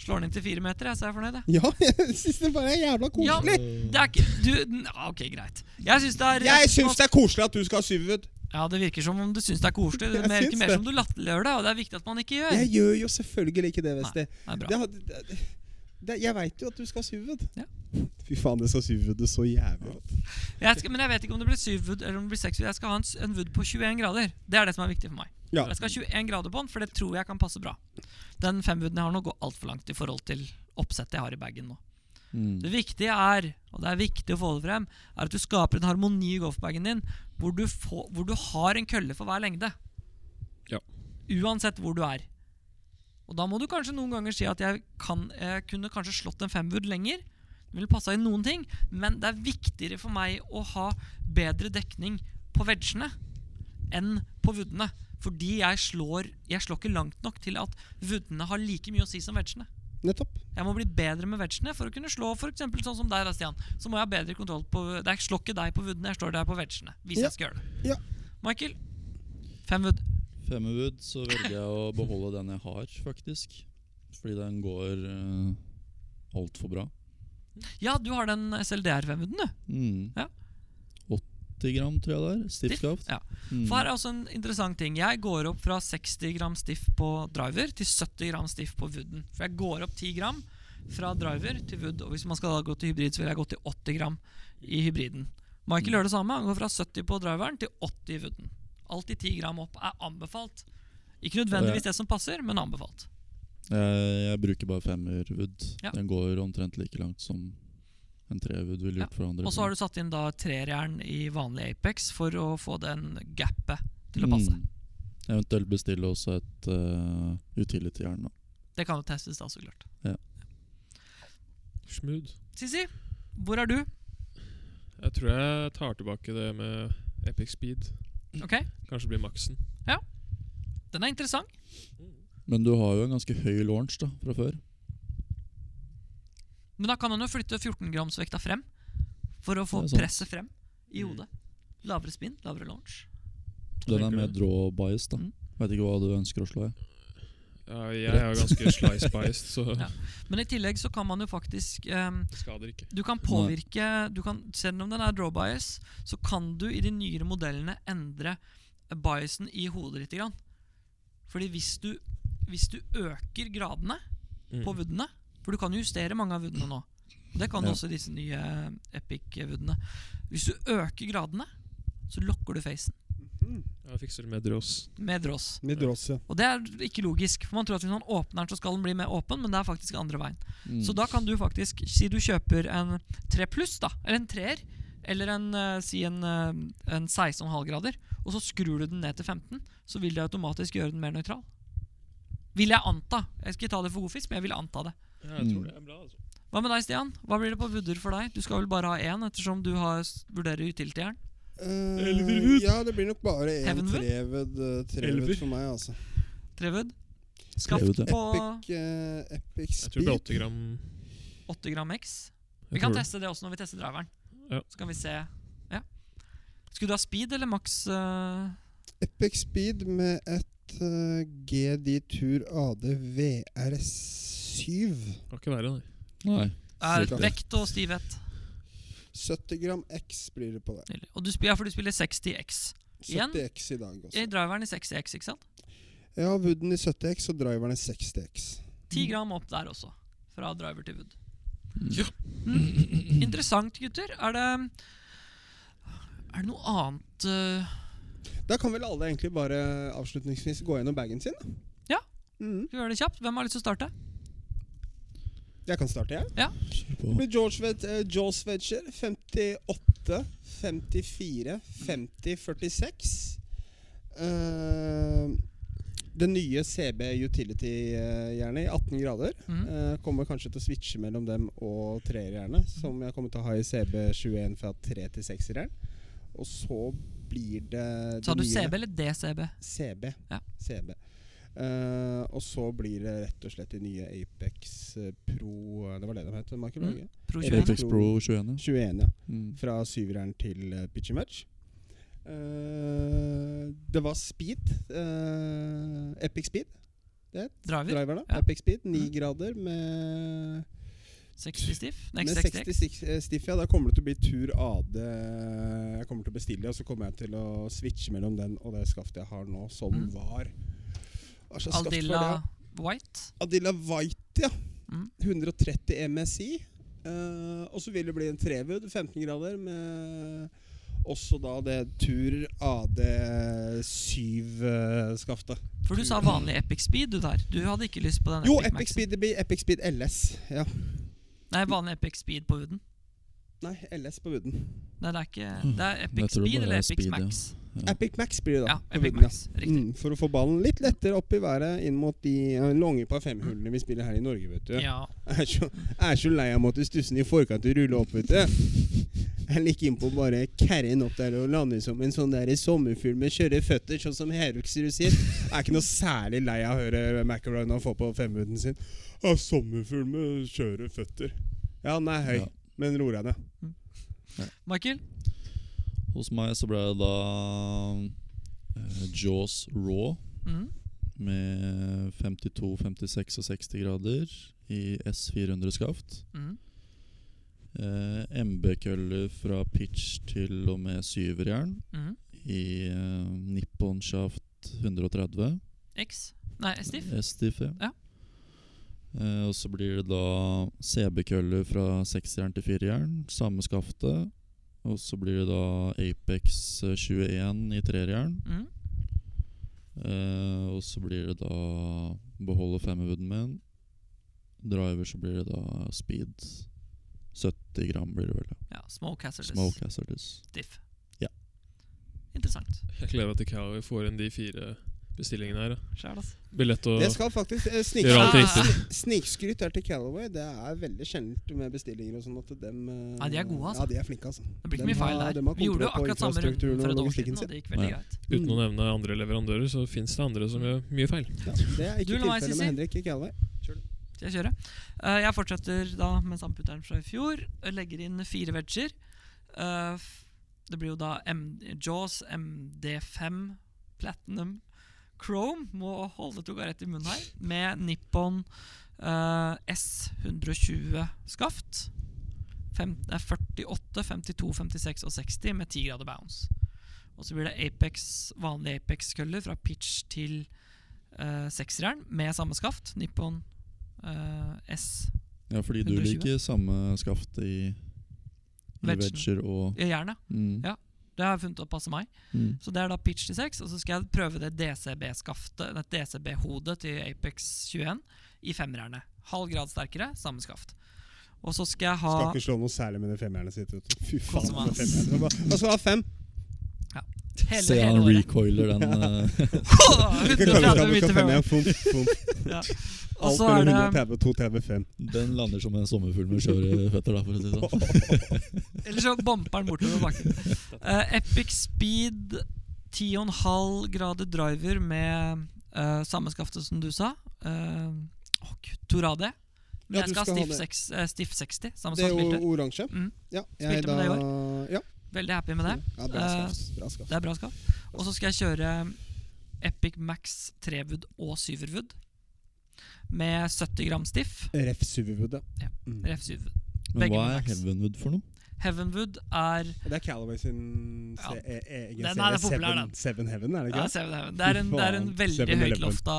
[SPEAKER 1] Slår den inn til fire meter, jeg, så er jeg fornøyd. jeg.
[SPEAKER 5] Ja, *laughs* jeg syns det bare er jævla
[SPEAKER 1] Ja,
[SPEAKER 5] koselig.
[SPEAKER 1] det er ikke Du n- ja, Ok, greit. Jeg syns det er
[SPEAKER 5] Jeg syns det er koselig at du skal ha syverwood.
[SPEAKER 1] Ja, det virker som om du syns det er koselig. Det
[SPEAKER 5] Jeg
[SPEAKER 1] virker
[SPEAKER 5] syns
[SPEAKER 1] mer
[SPEAKER 5] det.
[SPEAKER 1] som du latterliggjør det, og det er viktig at man ikke gjør.
[SPEAKER 5] Jeg gjør jo selvfølgelig ikke det, Vesti.
[SPEAKER 1] Det er bra.
[SPEAKER 5] Det had- det, det, jeg veit jo at du skal ha syvud.
[SPEAKER 1] Ja.
[SPEAKER 5] Fy faen, det skal syvud så jævlig godt.
[SPEAKER 1] Jeg skal, men jeg vet ikke om det blir syvud eller om det blir seksvud. Jeg skal ha en, s- en wood på 21 grader. Det er det som er viktig for meg.
[SPEAKER 5] Ja.
[SPEAKER 1] Jeg skal ha 21 grader på den, for det tror jeg kan passe bra. Den femwooden jeg har nå, går altfor langt i forhold til oppsettet jeg har i bagen nå.
[SPEAKER 3] Mm.
[SPEAKER 1] Det viktige er, og det er viktig å få det frem, er at du skaper en harmoni i golfbagen din hvor du, får, hvor du har en kølle for hver lengde.
[SPEAKER 2] Ja.
[SPEAKER 1] Uansett hvor du er. Og da må du kanskje noen ganger si at jeg, kan, jeg kunne kanskje slått en femwood lenger. Det ville passa inn noen ting, men det er viktigere for meg å ha bedre dekning på wedgene enn på woodene. Fordi jeg slår, jeg slår ikke langt nok til at woodene har like mye å si som wedgene.
[SPEAKER 5] Nettopp.
[SPEAKER 1] Jeg må bli bedre med wedgene for å kunne slå for eksempel sånn som deg, da, Stian. Så må jeg ha bedre kontroll på Det er ikke slår ikke deg på woodene, jeg slår deg på wedgene. Hvis
[SPEAKER 5] Ja.
[SPEAKER 1] jeg skal gjøre det.
[SPEAKER 5] Ja.
[SPEAKER 1] Michael, fem wood.
[SPEAKER 3] Femmerwood, så velger jeg å beholde den jeg har, faktisk. Fordi den går uh, altfor bra.
[SPEAKER 1] Ja, du har den SLDR-femwooden, du.
[SPEAKER 3] Mm.
[SPEAKER 1] Ja.
[SPEAKER 3] 80 gram, tror jeg det er. Stiff kraft.
[SPEAKER 1] Ja.
[SPEAKER 3] Mm.
[SPEAKER 1] For her er også altså en interessant ting. Jeg går opp fra 60 gram stiff på driver til 70 gram stiff på wooden. For jeg går opp 10 gram fra driver til wood. Og hvis man skal da gå til hybrid, så vil jeg gå til 80 gram i hybriden. Michael gjør det samme. Han går fra 70 på driveren til 80 i wooden. Alltid 10 gram opp er anbefalt. Ikke nødvendigvis det som passer, men anbefalt.
[SPEAKER 3] Jeg, Eh, jeg bruker bare femmerwood.
[SPEAKER 1] Ja.
[SPEAKER 3] Den går omtrent like langt som en trewood ville gjort for andre.
[SPEAKER 1] Og så har du satt inn da trerjern i vanlig Apex for å få den gapet til å passe.
[SPEAKER 3] Mm. Eventuelt bestille også et uh, utility-jern. da.
[SPEAKER 1] Det kan jo testes da, så klart.
[SPEAKER 2] Smooth.
[SPEAKER 1] Sisi, hvor er du?
[SPEAKER 2] Jeg tror jeg tar tilbake det med Epic Speed.
[SPEAKER 1] Ok,
[SPEAKER 2] Kanskje blir maksen.
[SPEAKER 1] Den er interessant.
[SPEAKER 3] Men du har jo en ganske høy launch da, fra før.
[SPEAKER 1] Men da kan han jo flytte 14-gramsvekta frem for å få
[SPEAKER 3] Det er sant.
[SPEAKER 1] presset frem i
[SPEAKER 2] Mm.
[SPEAKER 1] hodet. Lavere spinn, lavere launch.
[SPEAKER 3] Den er
[SPEAKER 2] tenker
[SPEAKER 3] mer
[SPEAKER 2] du?
[SPEAKER 3] draw bias. da.
[SPEAKER 1] Mm.
[SPEAKER 3] Vet ikke hva du ønsker å slå. Jeg.
[SPEAKER 2] Ja, jeg er jo ganske
[SPEAKER 5] *laughs*
[SPEAKER 2] slice-biased, så
[SPEAKER 1] Ja. Men i tillegg så kan man jo faktisk ehm,
[SPEAKER 2] det skader ikke.
[SPEAKER 1] Du kan påvirke du kan, Selv om den er draw bias, så kan du i de nyere modellene endre biasen i hodet litt. Grann. Fordi hvis du, hvis du øker gradene
[SPEAKER 5] Mm.
[SPEAKER 1] på woodene. For du kan jo justere mange av woodene nå. Og Det kan du
[SPEAKER 3] Mm. Ja.
[SPEAKER 1] også i disse nye Epic-woodene. Hvis du øker gradene, så lokker du facen
[SPEAKER 2] Jeg fikser det med dross.
[SPEAKER 1] med dross.
[SPEAKER 5] Med dross, ja.
[SPEAKER 1] Og det er ikke logisk, for man tror at hvis man åpner den, så skal den bli mer åpen, men det er faktisk andre veien.
[SPEAKER 3] Mm.
[SPEAKER 1] Så da kan du faktisk, si du kjøper en 3 pluss, da, eller en 3-er, eller en, eh, si en, eh, en 16,5 grader, og så skrur du den ned til 15, så vil det automatisk gjøre den mer nøytral. Vil jeg anta. Jeg skal ikke ta det for god fisk, men jeg vil anta det.
[SPEAKER 2] Ja, jeg tror
[SPEAKER 3] Mm.
[SPEAKER 2] det er bra, altså.
[SPEAKER 1] Hva med deg, Stian? Hva blir det på Vudder for deg? Du skal vel bare ha én, ettersom du har s- vurderer utiltieren.
[SPEAKER 5] Eh,
[SPEAKER 2] Elverhud.
[SPEAKER 5] ja, det blir nok bare én
[SPEAKER 1] Heavenwood?
[SPEAKER 5] treved, eh, treved
[SPEAKER 2] Elver.
[SPEAKER 5] for meg, altså.
[SPEAKER 1] Trevud?
[SPEAKER 3] Skrev
[SPEAKER 1] Skaft
[SPEAKER 3] det.
[SPEAKER 1] på
[SPEAKER 5] Epic, eh, epic
[SPEAKER 2] Jeg tror det
[SPEAKER 5] speed.
[SPEAKER 2] er 80 gram.
[SPEAKER 1] 8 gram X.
[SPEAKER 2] Jeg
[SPEAKER 1] Vi kan
[SPEAKER 2] tror det.
[SPEAKER 1] teste det også når vi tester driveren.
[SPEAKER 2] Ja.
[SPEAKER 1] Så kan vi se. Ja. Skulle du ha speed eller maks eh,
[SPEAKER 5] Epic Speed med et eh, GD Tur AD VR7.
[SPEAKER 2] Kan ikke være, nei.
[SPEAKER 3] Nei.
[SPEAKER 1] er
[SPEAKER 5] Cirka.
[SPEAKER 1] vekt og stivhet?
[SPEAKER 5] 70 gram X blir det på det.
[SPEAKER 1] Nydelig. Og du spiller, ja, for du spiller 60X. Igjen?
[SPEAKER 5] 70X i dag
[SPEAKER 1] I
[SPEAKER 5] også.
[SPEAKER 1] driveren i 60X, ikke sant?
[SPEAKER 5] Jeg har Wooden i 70X og driveren i 60X.
[SPEAKER 1] 10
[SPEAKER 2] Mm.
[SPEAKER 1] gram opp der også. Fra driver til
[SPEAKER 2] *laughs*
[SPEAKER 1] wood.
[SPEAKER 2] Ja.
[SPEAKER 1] Mm. Interessant, gutter. Er det Er det noe annet eh,
[SPEAKER 5] Da kan vel alle egentlig bare avslutningsvis gå gjennom bagen sin? da?
[SPEAKER 1] Ja.
[SPEAKER 5] Mm.
[SPEAKER 1] Skal vi gjøre det kjapt? Hvem har lyst til å starte?
[SPEAKER 5] Jeg kan starte, jeg.
[SPEAKER 3] Kjør på.
[SPEAKER 5] Det blir George Ved eh, Jaws Wedger. 58, 54, 50, 46. Eh, det nye CB Utility-jernet eh, i 18 grader.
[SPEAKER 1] Mhm.
[SPEAKER 5] Eh, kommer kanskje til å switche mellom dem og treerjernet, som jeg kommer til å ha i CB21 fra 3 til 6-eren. Og så blir det det
[SPEAKER 1] Sa du
[SPEAKER 5] nye-
[SPEAKER 1] CB eller DCB?
[SPEAKER 5] CB.
[SPEAKER 1] Ja.
[SPEAKER 5] CB. Eh, og så blir det rett og slett de nye Apex eh, Pro eh, Det var det de het? Michael
[SPEAKER 1] Mm.
[SPEAKER 5] Hage?
[SPEAKER 1] Pro
[SPEAKER 5] Eller
[SPEAKER 1] 21?
[SPEAKER 5] Apex
[SPEAKER 3] Apex Pro 21, ja.
[SPEAKER 5] 21, ja.
[SPEAKER 3] Mm.
[SPEAKER 5] Fra syveren til eh, pitchy match. Eh, det var speed. eh, Epic speed.
[SPEAKER 1] Driver?
[SPEAKER 5] Driveren, da.
[SPEAKER 1] Ja.
[SPEAKER 5] Epic speed. 9
[SPEAKER 1] Mm.
[SPEAKER 5] grader med
[SPEAKER 1] 60 stiff?
[SPEAKER 5] med
[SPEAKER 1] Next 60X?
[SPEAKER 5] 66 eh, stiff, ja. Da kommer det til å bli tur AD jeg kommer til å bestille. Og så kommer jeg til å switche mellom den og det skaftet jeg har nå, som
[SPEAKER 1] Mm.
[SPEAKER 5] var Hva slags skaft var det?
[SPEAKER 1] Aldilla White?
[SPEAKER 5] Adilla White, ja.
[SPEAKER 1] Mm.
[SPEAKER 5] 130 MSI. Eh, og så vil det bli en trevud, 15 grader, med også da det tur AD7-skaftet.
[SPEAKER 1] For du sa vanlig Epic Speed, du der. Du hadde ikke lyst på den
[SPEAKER 5] Mm. Jo,
[SPEAKER 1] Epic
[SPEAKER 5] Epic
[SPEAKER 1] Maxen.
[SPEAKER 5] Speed, det blir Epic Speed LS. Ja.
[SPEAKER 1] Nei, vanlig Epic Speed på huden.
[SPEAKER 5] Nei, LS på wooden.
[SPEAKER 1] Nei, det er ikke Det er
[SPEAKER 3] Jeg
[SPEAKER 1] Epic
[SPEAKER 3] tror det
[SPEAKER 1] Speed
[SPEAKER 3] bare
[SPEAKER 1] eller
[SPEAKER 3] er
[SPEAKER 1] Epic
[SPEAKER 3] speed, ja.
[SPEAKER 1] Max.
[SPEAKER 3] Ja.
[SPEAKER 5] Epic Max blir det da.
[SPEAKER 1] Ja,
[SPEAKER 5] på
[SPEAKER 1] Epic
[SPEAKER 5] wooden, Mm. ja.
[SPEAKER 1] Max. Riktig.
[SPEAKER 5] Mm, for å få ballen litt lettere opp i været inn mot de eh, lange par fem-hullene vi spiller her i Norge, vet du.
[SPEAKER 1] Ja.
[SPEAKER 5] Jeg er så, jeg er så lei av å måtte stusse den i forkant og rulle opp, vet du. eh. Jeg liker innpå å bare carry den opp der og lande som en sånn der sommerfugl med skjøre føtter, sånn som Heruxerud sier. Jeg er ikke noe særlig lei av å høre McElroy få på femminuten sin. Ja, sommerfugl med skjøre føtter. Ja, den er høy,
[SPEAKER 3] Ja.
[SPEAKER 5] men ror jeg ned.
[SPEAKER 1] Michael?
[SPEAKER 3] Hos meg så ble det da eh, Jaws Raw
[SPEAKER 1] Mhm.
[SPEAKER 3] med 52, 56 og 60 grader i S400-skaft.
[SPEAKER 1] Mhm.
[SPEAKER 3] Eh, MB-køller fra pitch til og med syverjern
[SPEAKER 1] Mhm.
[SPEAKER 3] i eh, Nippon-shaft 130.
[SPEAKER 1] X? Nei, Stiff?
[SPEAKER 3] S-diff, ja.
[SPEAKER 1] Ja.
[SPEAKER 3] Eh, og så blir det da CB-køller fra seksjern til firejern, samme skaftet. Og så blir det da Apex eh, 21 i trerjern.
[SPEAKER 1] Mhm.
[SPEAKER 3] Eh, og så blir det da beholde femmerwooden min. Driver så blir det da speed. 70 gram blir det vel. ja.
[SPEAKER 1] Ja, Smoke Hazardous.
[SPEAKER 3] Smoke hazardous.
[SPEAKER 1] Stiff.
[SPEAKER 3] Ja.
[SPEAKER 1] Interessant.
[SPEAKER 2] Jeg gleder meg til Cowie får inn de fire bestillingene her. ja.
[SPEAKER 1] Sjæl, altså.
[SPEAKER 2] Billett og
[SPEAKER 5] Det skal faktisk eh, snik-
[SPEAKER 2] Gjør alt
[SPEAKER 1] Ja.
[SPEAKER 2] riktig.
[SPEAKER 5] Snikskryt er til Callaway. Det er veldig sjeldent med bestillinger og sånn at dem eh,
[SPEAKER 1] Ja, de er gode, altså.
[SPEAKER 5] Ja, de er flinke, altså.
[SPEAKER 1] Det blir ikke
[SPEAKER 5] Dem
[SPEAKER 1] mye feil
[SPEAKER 5] har-
[SPEAKER 1] der.
[SPEAKER 5] dem har
[SPEAKER 1] Vi gjorde jo
[SPEAKER 5] kontroll på
[SPEAKER 1] akkurat samme runden
[SPEAKER 5] infrastrukturen
[SPEAKER 1] for et år
[SPEAKER 5] og
[SPEAKER 1] siden,
[SPEAKER 5] logistikken
[SPEAKER 1] og
[SPEAKER 5] sin.
[SPEAKER 1] det gikk veldig
[SPEAKER 3] Ja.
[SPEAKER 1] greit.
[SPEAKER 2] Uten å nevne andre leverandører, så fins det andre som gjør mye feil.
[SPEAKER 5] Ja, det er ikke
[SPEAKER 1] Du, la meg,
[SPEAKER 5] tilfellet
[SPEAKER 1] Sissy.
[SPEAKER 5] med Henrik i Callaway.
[SPEAKER 1] Skal jeg kjøre? Eh, jeg fortsetter da med samputteren fra i fjor. Legger inn fire wedger. Eh, f- det blir jo da M Jaws MD5 Platinum Chrome. Må holde tunga rett i munnen her. Med Nippon eh, S120 skaft. Fem, eh, 48, 52, 56 og 60 med 10 grader bounce. Og så blir det Apex, vanlige Apex-køller fra pitch til uh, sekseren med samme skaft. Nippon eh, S.
[SPEAKER 3] Ja, fordi du
[SPEAKER 1] 120.
[SPEAKER 3] liker samme skaftet i, i
[SPEAKER 1] Wedgen.
[SPEAKER 3] wedger og
[SPEAKER 1] Ja, Jernet.
[SPEAKER 3] mm,
[SPEAKER 1] Ja. Det har jeg funnet opp passer meg.
[SPEAKER 3] mm.
[SPEAKER 1] Så det er da pitch til 6, og så skal jeg prøve det DCB-skaftet, det DCB-hodet til Apex 21 i femmerne. Halv grad sterkere, samme skaft. Og så skal jeg ha
[SPEAKER 5] Skal ikke slå noe særlig med det femmerne sitt. Vet du. Fy
[SPEAKER 1] Kos
[SPEAKER 5] faen,
[SPEAKER 1] meg,
[SPEAKER 5] det
[SPEAKER 1] ass.
[SPEAKER 5] femmerne. Hva- Hva skal ha
[SPEAKER 1] *laughs*
[SPEAKER 5] fem?
[SPEAKER 1] hele,
[SPEAKER 3] Se
[SPEAKER 1] hele
[SPEAKER 3] han
[SPEAKER 1] året. *laughs*
[SPEAKER 3] recoiler den. eh,
[SPEAKER 5] Vi kan kalle
[SPEAKER 1] 130
[SPEAKER 5] det
[SPEAKER 1] meter
[SPEAKER 5] fem
[SPEAKER 1] før. *laughs*
[SPEAKER 5] igjen. Fomp, fomp.
[SPEAKER 1] Og
[SPEAKER 5] Alt
[SPEAKER 1] så er
[SPEAKER 5] mellom
[SPEAKER 1] det
[SPEAKER 5] 130 og 235.
[SPEAKER 3] Den lander som en sommerfugl med sjørøverføtter, da, for å si det
[SPEAKER 1] *laughs*
[SPEAKER 3] sånn.
[SPEAKER 1] Eller så bumper den bortover bakken. Eh, Epic Speed 10,5 grader driver med uh, samme skaftet som du sa. Uh, oh, Gud, Torade. Men
[SPEAKER 5] Ja,
[SPEAKER 1] jeg
[SPEAKER 5] du
[SPEAKER 1] skal,
[SPEAKER 5] skal ha
[SPEAKER 1] ha stiff,
[SPEAKER 5] det.
[SPEAKER 1] seks, eh, stiff 60, samme
[SPEAKER 5] Det
[SPEAKER 1] som
[SPEAKER 5] er
[SPEAKER 1] han spilte.
[SPEAKER 5] jo oransje.
[SPEAKER 1] Mm.
[SPEAKER 5] Ja,
[SPEAKER 1] Spilte med det i
[SPEAKER 5] Ja,
[SPEAKER 1] Veldig happy med det.
[SPEAKER 5] ja bra
[SPEAKER 1] Eh,
[SPEAKER 5] skaft. Bra skaft.
[SPEAKER 1] Det er bra skaff. Og så skal jeg kjøre Epic Max trewood og syverwood med 70 gram stiff.
[SPEAKER 5] Ref Superwood,
[SPEAKER 1] Ja.
[SPEAKER 5] ja. Mm.
[SPEAKER 1] Ref syverwood.
[SPEAKER 3] Men
[SPEAKER 1] Begge
[SPEAKER 3] hva
[SPEAKER 1] med
[SPEAKER 3] er
[SPEAKER 1] Max.
[SPEAKER 3] Heavenwood for noe?
[SPEAKER 1] Heavenwood er
[SPEAKER 5] Det er Callaway sin
[SPEAKER 1] Ja.
[SPEAKER 5] se- e- egen
[SPEAKER 1] Den er
[SPEAKER 5] serie,
[SPEAKER 1] den populære,
[SPEAKER 5] Seven,
[SPEAKER 1] den.
[SPEAKER 5] Seven Heaven, er det ikke?
[SPEAKER 1] ja,
[SPEAKER 5] det?
[SPEAKER 1] seven heaven. Det er en,
[SPEAKER 5] Fy
[SPEAKER 1] det er en
[SPEAKER 5] faen,
[SPEAKER 1] veldig
[SPEAKER 5] 7-Eleven.
[SPEAKER 1] høytlofta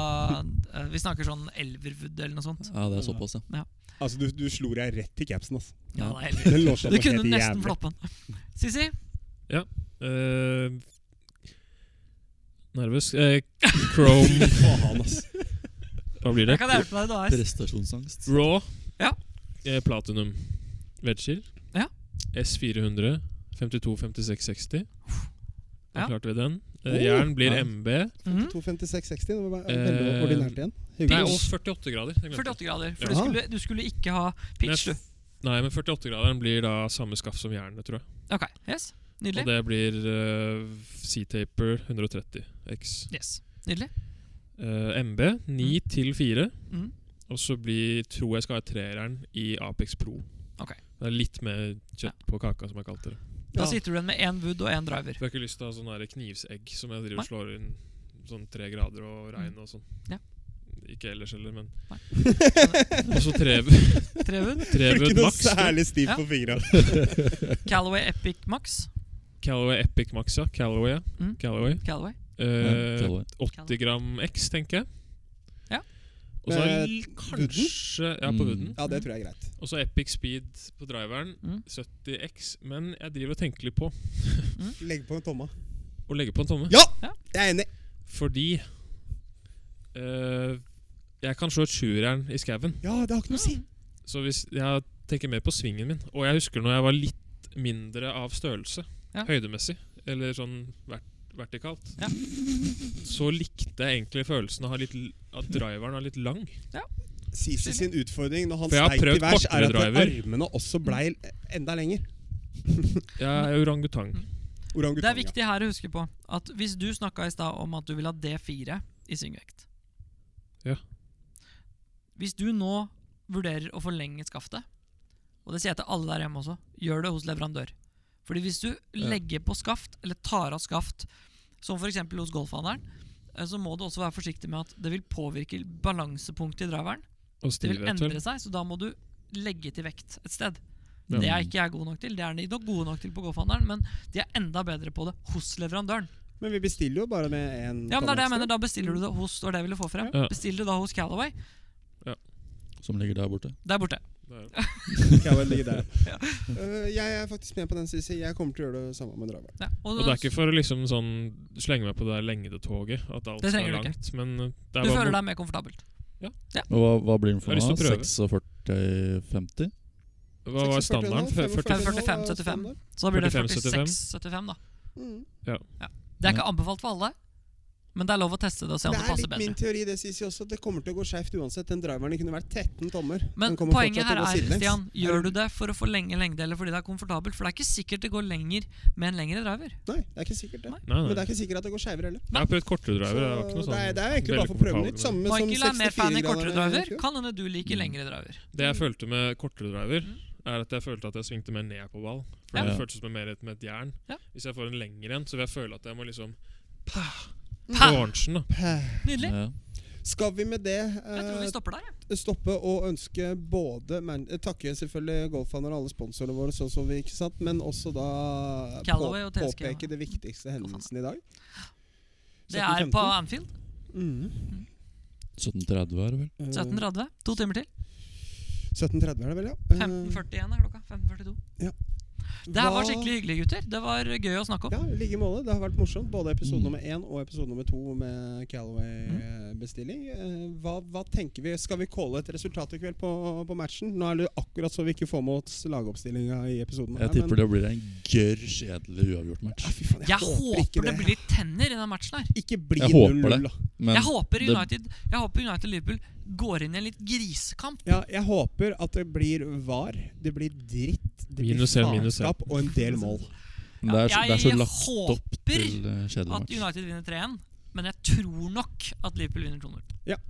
[SPEAKER 1] eh, Vi snakker sånn elverwood eller noe sånt.
[SPEAKER 3] Ja, det er såpass, ja.
[SPEAKER 5] Altså, du, du slo deg rett i capsen, altså.
[SPEAKER 1] Ja, det er elver.
[SPEAKER 5] Den lå sånn
[SPEAKER 1] Du
[SPEAKER 5] helt
[SPEAKER 1] kunne nesten
[SPEAKER 5] jævlig.
[SPEAKER 1] floppe den. Sissy,
[SPEAKER 2] Eh, nervøs.
[SPEAKER 1] *laughs*
[SPEAKER 2] Eh, Chrome
[SPEAKER 5] Faen, ass.
[SPEAKER 2] Hva blir det?
[SPEAKER 1] jeg kan hjelpe deg. Du har S.
[SPEAKER 3] Prestasjonsangst.
[SPEAKER 2] Raw.
[SPEAKER 1] Ja.
[SPEAKER 2] Eh, Platinum. Wedger.
[SPEAKER 1] Ja.
[SPEAKER 2] S400. 52, 56, 60. Da
[SPEAKER 1] Ja.
[SPEAKER 2] klarte vi den. Eh,
[SPEAKER 5] Oh,
[SPEAKER 2] jern blir
[SPEAKER 3] ja.
[SPEAKER 2] MB.
[SPEAKER 1] Mhm.
[SPEAKER 5] 256-60, det var bare-
[SPEAKER 2] Eh,
[SPEAKER 5] veldig ordinært igjen.
[SPEAKER 2] Nei, og
[SPEAKER 5] Hyggelig.
[SPEAKER 2] 48 grader. Jeg glemte.
[SPEAKER 1] 48 grader. For
[SPEAKER 5] Ja.
[SPEAKER 1] du skulle, du skulle ikke ha pitch,
[SPEAKER 2] Men
[SPEAKER 1] du.
[SPEAKER 2] jeg f- Nei, men 48-graderen blir da samme skaff som jernet, tror jeg.
[SPEAKER 1] Ok, yes.
[SPEAKER 2] Og
[SPEAKER 1] Nydelig.
[SPEAKER 2] det blir eh, C-taper 130 X.
[SPEAKER 1] Yes. Nydelig.
[SPEAKER 2] Eh, MB 9 til 4.
[SPEAKER 1] Mm.
[SPEAKER 2] Og så blir, tror jeg skal ha treeren i Apex Pro.
[SPEAKER 1] Ok.
[SPEAKER 2] Det er litt mer kjøtt på kaka, som jeg kalte det.
[SPEAKER 1] Da
[SPEAKER 5] Ja.
[SPEAKER 1] sitter du igjen med én wood og én driver.
[SPEAKER 2] For jeg har ikke lyst til å ha sånn der knivsegg som jeg
[SPEAKER 1] Nei.
[SPEAKER 2] driver
[SPEAKER 1] Mm.
[SPEAKER 2] og slår inn sånn tre grader og regn og sånn.
[SPEAKER 1] Ja.
[SPEAKER 2] Ikke ellers heller, men
[SPEAKER 1] Nei.
[SPEAKER 2] *laughs* Og så trev,
[SPEAKER 1] Tre wood.
[SPEAKER 5] Får
[SPEAKER 2] Trevud
[SPEAKER 5] ikke noe
[SPEAKER 2] Max.
[SPEAKER 5] særlig stiv
[SPEAKER 1] Ja.
[SPEAKER 5] på fingra.
[SPEAKER 1] Callaway Epic Max.
[SPEAKER 2] Callaway Epic Max, ja. Callaway. ja.
[SPEAKER 1] Mm.
[SPEAKER 2] Callaway.
[SPEAKER 1] Callaway.
[SPEAKER 2] Eh,
[SPEAKER 3] Ja, Callaway.
[SPEAKER 2] 80 gram X, tenker jeg.
[SPEAKER 1] Ja.
[SPEAKER 2] Og så
[SPEAKER 5] Eh,
[SPEAKER 2] l- kanskje Ja, på
[SPEAKER 3] Mm.
[SPEAKER 2] wooden.
[SPEAKER 5] Ja, det tror jeg er greit.
[SPEAKER 2] Og så Epic Speed på driveren.
[SPEAKER 1] Mm.
[SPEAKER 2] 70X. Men jeg driver og tenker litt på
[SPEAKER 5] Legg på en tomme.
[SPEAKER 2] å legge på en tomme.
[SPEAKER 5] Ja!
[SPEAKER 1] Ja.
[SPEAKER 5] Jeg er enig.
[SPEAKER 2] Fordi eh, jeg kan slå et sjuerjern i skauen.
[SPEAKER 5] Ja, det har ikke noe å si.
[SPEAKER 2] Så hvis jeg tenker mer på svingen min Og jeg husker når jeg var litt mindre av størrelse
[SPEAKER 1] Ja.
[SPEAKER 2] Høydemessig Eller sånn vert vertikalt
[SPEAKER 1] Ja.
[SPEAKER 2] Så likte jeg egentlig følelsen av å ha litt, l- At driveren var litt lang
[SPEAKER 5] Sisi sin utfordring når han
[SPEAKER 2] For jeg har
[SPEAKER 5] steik
[SPEAKER 2] prøvd
[SPEAKER 5] i vers, er at
[SPEAKER 2] kortere driver.
[SPEAKER 5] armene også blei enda lenger.
[SPEAKER 2] Jeg er orangutang
[SPEAKER 1] Mm.
[SPEAKER 5] Orangutang,
[SPEAKER 1] Det er viktig her å huske på at hvis du snakka i stad om at du vil ha D4 i svingvekt
[SPEAKER 2] Ja.
[SPEAKER 1] Hvis du nå vurderer å forlenge skaftet, og det sier jeg til alle der hjemme også, gjør det hos leverandør. Fordi hvis du
[SPEAKER 2] Ja.
[SPEAKER 1] legger på skaft, eller tar av skaft, som f.eks. hos golfhandelen, eh, så må du også være forsiktig med at det vil påvirke balansepunktet i driveren.
[SPEAKER 2] Og
[SPEAKER 1] Det vil
[SPEAKER 2] stivhet vel
[SPEAKER 1] endre seg, så da må du legge til vekt et sted.
[SPEAKER 2] Ja.
[SPEAKER 1] Det er ikke jeg god nok til. Det er de nok gode nok til på golfhandelen, men de er enda bedre på det hos leverandøren.
[SPEAKER 5] ja. Men vi bestiller jo bare med en
[SPEAKER 1] Ja, men det er det jeg
[SPEAKER 5] tomme
[SPEAKER 1] mener. Da bestiller du det hos det var det jeg ville få frem.
[SPEAKER 2] Ja.
[SPEAKER 1] Bestiller du da hos Callaway.
[SPEAKER 3] Som ligger der borte.
[SPEAKER 1] Der borte.
[SPEAKER 2] Det er-
[SPEAKER 5] *laughs* ekstra. Skal jeg vel ligge
[SPEAKER 1] *laughs*
[SPEAKER 5] der. Øh, jeg er faktisk med på den, Sisi. Jeg kommer til å gjøre det samme med driveren.
[SPEAKER 1] Ja.
[SPEAKER 2] Og det er ikke for å liksom sånn Slenge meg på det der lengdetoget At alt
[SPEAKER 1] Det
[SPEAKER 2] skal
[SPEAKER 1] trenger
[SPEAKER 2] være
[SPEAKER 1] du ikke.
[SPEAKER 2] langt Men eh, det er
[SPEAKER 1] du
[SPEAKER 2] bare
[SPEAKER 1] føler
[SPEAKER 2] mor-
[SPEAKER 1] deg mer komfortabelt.
[SPEAKER 3] Og hva, hva blir den for
[SPEAKER 2] Jeg har
[SPEAKER 3] noe?
[SPEAKER 2] lyst til å prøve.
[SPEAKER 3] 46-50?
[SPEAKER 2] Hva var
[SPEAKER 5] 46,
[SPEAKER 2] standarden?
[SPEAKER 5] 45,
[SPEAKER 2] 40,
[SPEAKER 1] 45, 75.
[SPEAKER 5] standard.
[SPEAKER 1] Så da blir det
[SPEAKER 2] 45,
[SPEAKER 1] 46-75, da.
[SPEAKER 5] Mm.
[SPEAKER 1] Det er ikke anbefalt for alle, men det er lov å teste det og se om
[SPEAKER 5] Det
[SPEAKER 1] det,
[SPEAKER 5] er
[SPEAKER 1] passer
[SPEAKER 5] litt min
[SPEAKER 1] bedre.
[SPEAKER 5] teori, det Sisi også. Det kommer til å gå skeivt uansett. Den driveren kunne vært 13 tommer.
[SPEAKER 1] Men
[SPEAKER 5] Den kommer
[SPEAKER 1] poenget her
[SPEAKER 5] fortsatt til å gå
[SPEAKER 1] er,
[SPEAKER 5] sidelengs.
[SPEAKER 1] Stian, gjør du det for å forlenge lengde eller fordi det er komfortabelt? For det er ikke sikkert det går lenger med en lengre driver.
[SPEAKER 5] Nei, det er ikke sikkert det.
[SPEAKER 2] Nei,
[SPEAKER 5] Men det
[SPEAKER 2] nei
[SPEAKER 5] er ikke sikkert at det går skeivere heller.
[SPEAKER 2] Jeg har prøvd kortere driver Det var ikke noe
[SPEAKER 5] Så
[SPEAKER 2] sånn
[SPEAKER 5] det er- det er egentlig bare
[SPEAKER 2] veldig
[SPEAKER 5] for å prøve
[SPEAKER 2] komfortabel
[SPEAKER 5] nytt.
[SPEAKER 2] med.
[SPEAKER 5] Samme som
[SPEAKER 1] Michael er mer fan i
[SPEAKER 5] 64
[SPEAKER 1] kortere driver.
[SPEAKER 5] grader.
[SPEAKER 1] Kan hende du liker lengre driver.
[SPEAKER 2] Det jeg følte med kortere driver, er at jeg følte at jeg svingte mer ned på ball. For
[SPEAKER 3] Ja.
[SPEAKER 2] Det føltes som mer et- med et jern.
[SPEAKER 1] Ja.
[SPEAKER 2] Hvis jeg får en lengre en, så vil jeg føle at jeg må liksom
[SPEAKER 1] Pa!
[SPEAKER 2] på orangen. da.
[SPEAKER 1] Nydelig.
[SPEAKER 3] Ja.
[SPEAKER 5] Skal vi med det
[SPEAKER 1] Jeg tror
[SPEAKER 5] eh,
[SPEAKER 1] vi stopper der. jeg.
[SPEAKER 5] stoppe og ønske både man eh, Takke selvfølgelig Golfhandler og alle sponsorene våre, sånn som vi, ikke sant, men også da
[SPEAKER 1] Callaway og TSK.
[SPEAKER 5] påpeke det viktigste hendelsen i dag.
[SPEAKER 1] Det er på
[SPEAKER 5] 17.15.
[SPEAKER 1] Anfield.
[SPEAKER 5] Mhm.
[SPEAKER 3] 1730 er det vel?
[SPEAKER 5] Eh,
[SPEAKER 1] 17.30. To timer til.
[SPEAKER 5] 17.30 er det vel, ja. Eh,
[SPEAKER 1] 15.41 er klokka. 15.42.
[SPEAKER 5] Ja.
[SPEAKER 1] Det her var
[SPEAKER 5] Hva-
[SPEAKER 1] skikkelig hyggelig, gutter. Det var gøy å snakke om.
[SPEAKER 5] Ja, i like måte. Det har vært morsomt. Både episode
[SPEAKER 3] Mm.
[SPEAKER 5] nummer én og episode nummer to med Calaway-bestilling. Hva, hva tenker vi? Skal vi calle et resultat i kveld på, på matchen? Nå er det akkurat så vi ikke får med oss lagoppstillinga i episoden.
[SPEAKER 3] Jeg tipper det blir en gørr kjedelig uavgjort-match.
[SPEAKER 5] Fy faen, jeg,
[SPEAKER 1] Jeg håper det
[SPEAKER 5] ikke
[SPEAKER 1] blir litt tenner i den matchen her.
[SPEAKER 5] Ikke bli
[SPEAKER 3] Jeg håper
[SPEAKER 5] 0-0, da.
[SPEAKER 3] Men
[SPEAKER 1] jeg håper
[SPEAKER 3] det-
[SPEAKER 1] United Jeg håper United Liverpool går inn i en litt grisekamp.
[SPEAKER 5] Ja, jeg håper at det blir var. Det blir dritt. Det blir
[SPEAKER 2] Minus en, minus en.
[SPEAKER 5] faenskap og en del mål.
[SPEAKER 3] det er, så- det er så
[SPEAKER 1] jeg
[SPEAKER 3] lagt opp
[SPEAKER 1] håper
[SPEAKER 3] til eh, kjedelig
[SPEAKER 1] At
[SPEAKER 3] match.
[SPEAKER 1] United vinner 3-1, men jeg tror nok at Liverpool vinner 2-0.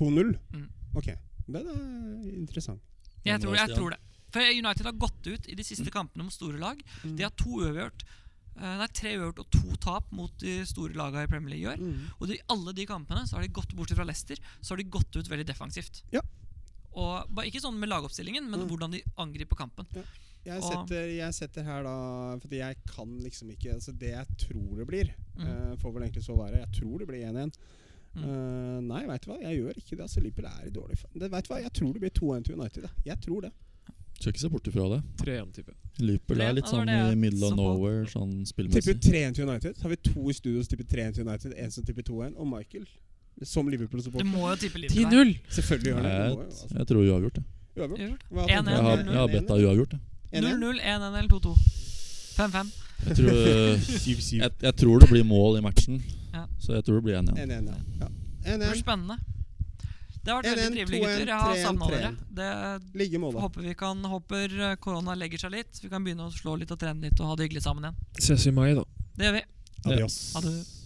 [SPEAKER 5] 2-0.
[SPEAKER 1] Mm.
[SPEAKER 5] Ok. Den er interessant.
[SPEAKER 1] Jeg tror, jeg
[SPEAKER 3] Stian?
[SPEAKER 1] tror det. For United har gått ut i de siste kampene mot store lag. De har to uavgjort eh, Nei, tre uavgjort og to tap mot de store lagene i Premier League i år.
[SPEAKER 5] Mm.
[SPEAKER 1] Og i alle de kampene, så har de gått bort fra Leicester, så har de gått ut veldig defensivt.
[SPEAKER 5] Ja.
[SPEAKER 1] Og bare Ikke sånn med lagoppstillingen, men
[SPEAKER 5] Mm.
[SPEAKER 1] hvordan de angriper kampen.
[SPEAKER 5] Jeg
[SPEAKER 1] Og-
[SPEAKER 5] setter, jeg setter her da Fordi jeg kan liksom ikke altså Det jeg tror det blir,
[SPEAKER 1] Mm.
[SPEAKER 5] eh, får vel egentlig så være. Jeg tror det blir 1-1.
[SPEAKER 1] Mm.
[SPEAKER 5] Eh, nei, veit du hva. Jeg gjør ikke det. Altså, Liverpool er i dårlig form. Det- Vet du hva, jeg tror det blir 2-1 til United. da. Jeg tror det.
[SPEAKER 3] Skal ikke se bort ifra det.
[SPEAKER 2] 3-1, tipper jeg.
[SPEAKER 3] Liverpool er
[SPEAKER 1] Ja,
[SPEAKER 3] litt
[SPEAKER 1] det var
[SPEAKER 3] sånn
[SPEAKER 1] det jeg
[SPEAKER 3] i middle
[SPEAKER 1] så
[SPEAKER 3] of
[SPEAKER 1] på.
[SPEAKER 3] nowhere sånn
[SPEAKER 5] Tipper
[SPEAKER 3] spillmessig.
[SPEAKER 5] 3-1 til United. Så har vi to i studio som tipper 3-1 til United. En som tipper 2-1. Og Michael, som
[SPEAKER 1] Du
[SPEAKER 5] Liverpool-supporter.
[SPEAKER 1] må jo tippe Liverpool.
[SPEAKER 2] 10-0!
[SPEAKER 5] Selvfølgelig gjør han det. det. må jo, altså.
[SPEAKER 3] Jeg, jeg tror uavgjort, jeg.
[SPEAKER 5] Uavgjort.
[SPEAKER 1] her.
[SPEAKER 5] Hva
[SPEAKER 1] 1-1.
[SPEAKER 5] tenker
[SPEAKER 3] Jeg har,
[SPEAKER 5] du?
[SPEAKER 3] jeg har betta uavgjort, jeg.
[SPEAKER 5] 1-1?
[SPEAKER 1] 0-0, 1-1 eller 2-2. 5-5.
[SPEAKER 3] Jeg tror, eh,
[SPEAKER 2] Syv-syv.
[SPEAKER 3] jeg, jeg tror det blir mål i matchen,
[SPEAKER 1] Ja.
[SPEAKER 3] så jeg tror det blir 1-1.
[SPEAKER 5] 1-1, ja. ja.
[SPEAKER 1] Det blir
[SPEAKER 5] 1-1.
[SPEAKER 1] spennende. Det har vært
[SPEAKER 5] 1-1,
[SPEAKER 1] veldig trivelig,
[SPEAKER 5] 2-1,
[SPEAKER 1] gutter. Jeg har
[SPEAKER 5] 3-1,
[SPEAKER 1] savna dere.
[SPEAKER 5] 3-1.
[SPEAKER 1] Det
[SPEAKER 5] Ligge i mål, da.
[SPEAKER 1] håper vi kan Håper eh, korona legger seg litt. Vi kan begynne å slå litt og trene litt og ha det hyggelig sammen igjen.
[SPEAKER 2] Ses i mai, da.
[SPEAKER 1] Det gjør vi.
[SPEAKER 5] Adios.
[SPEAKER 1] Ha det.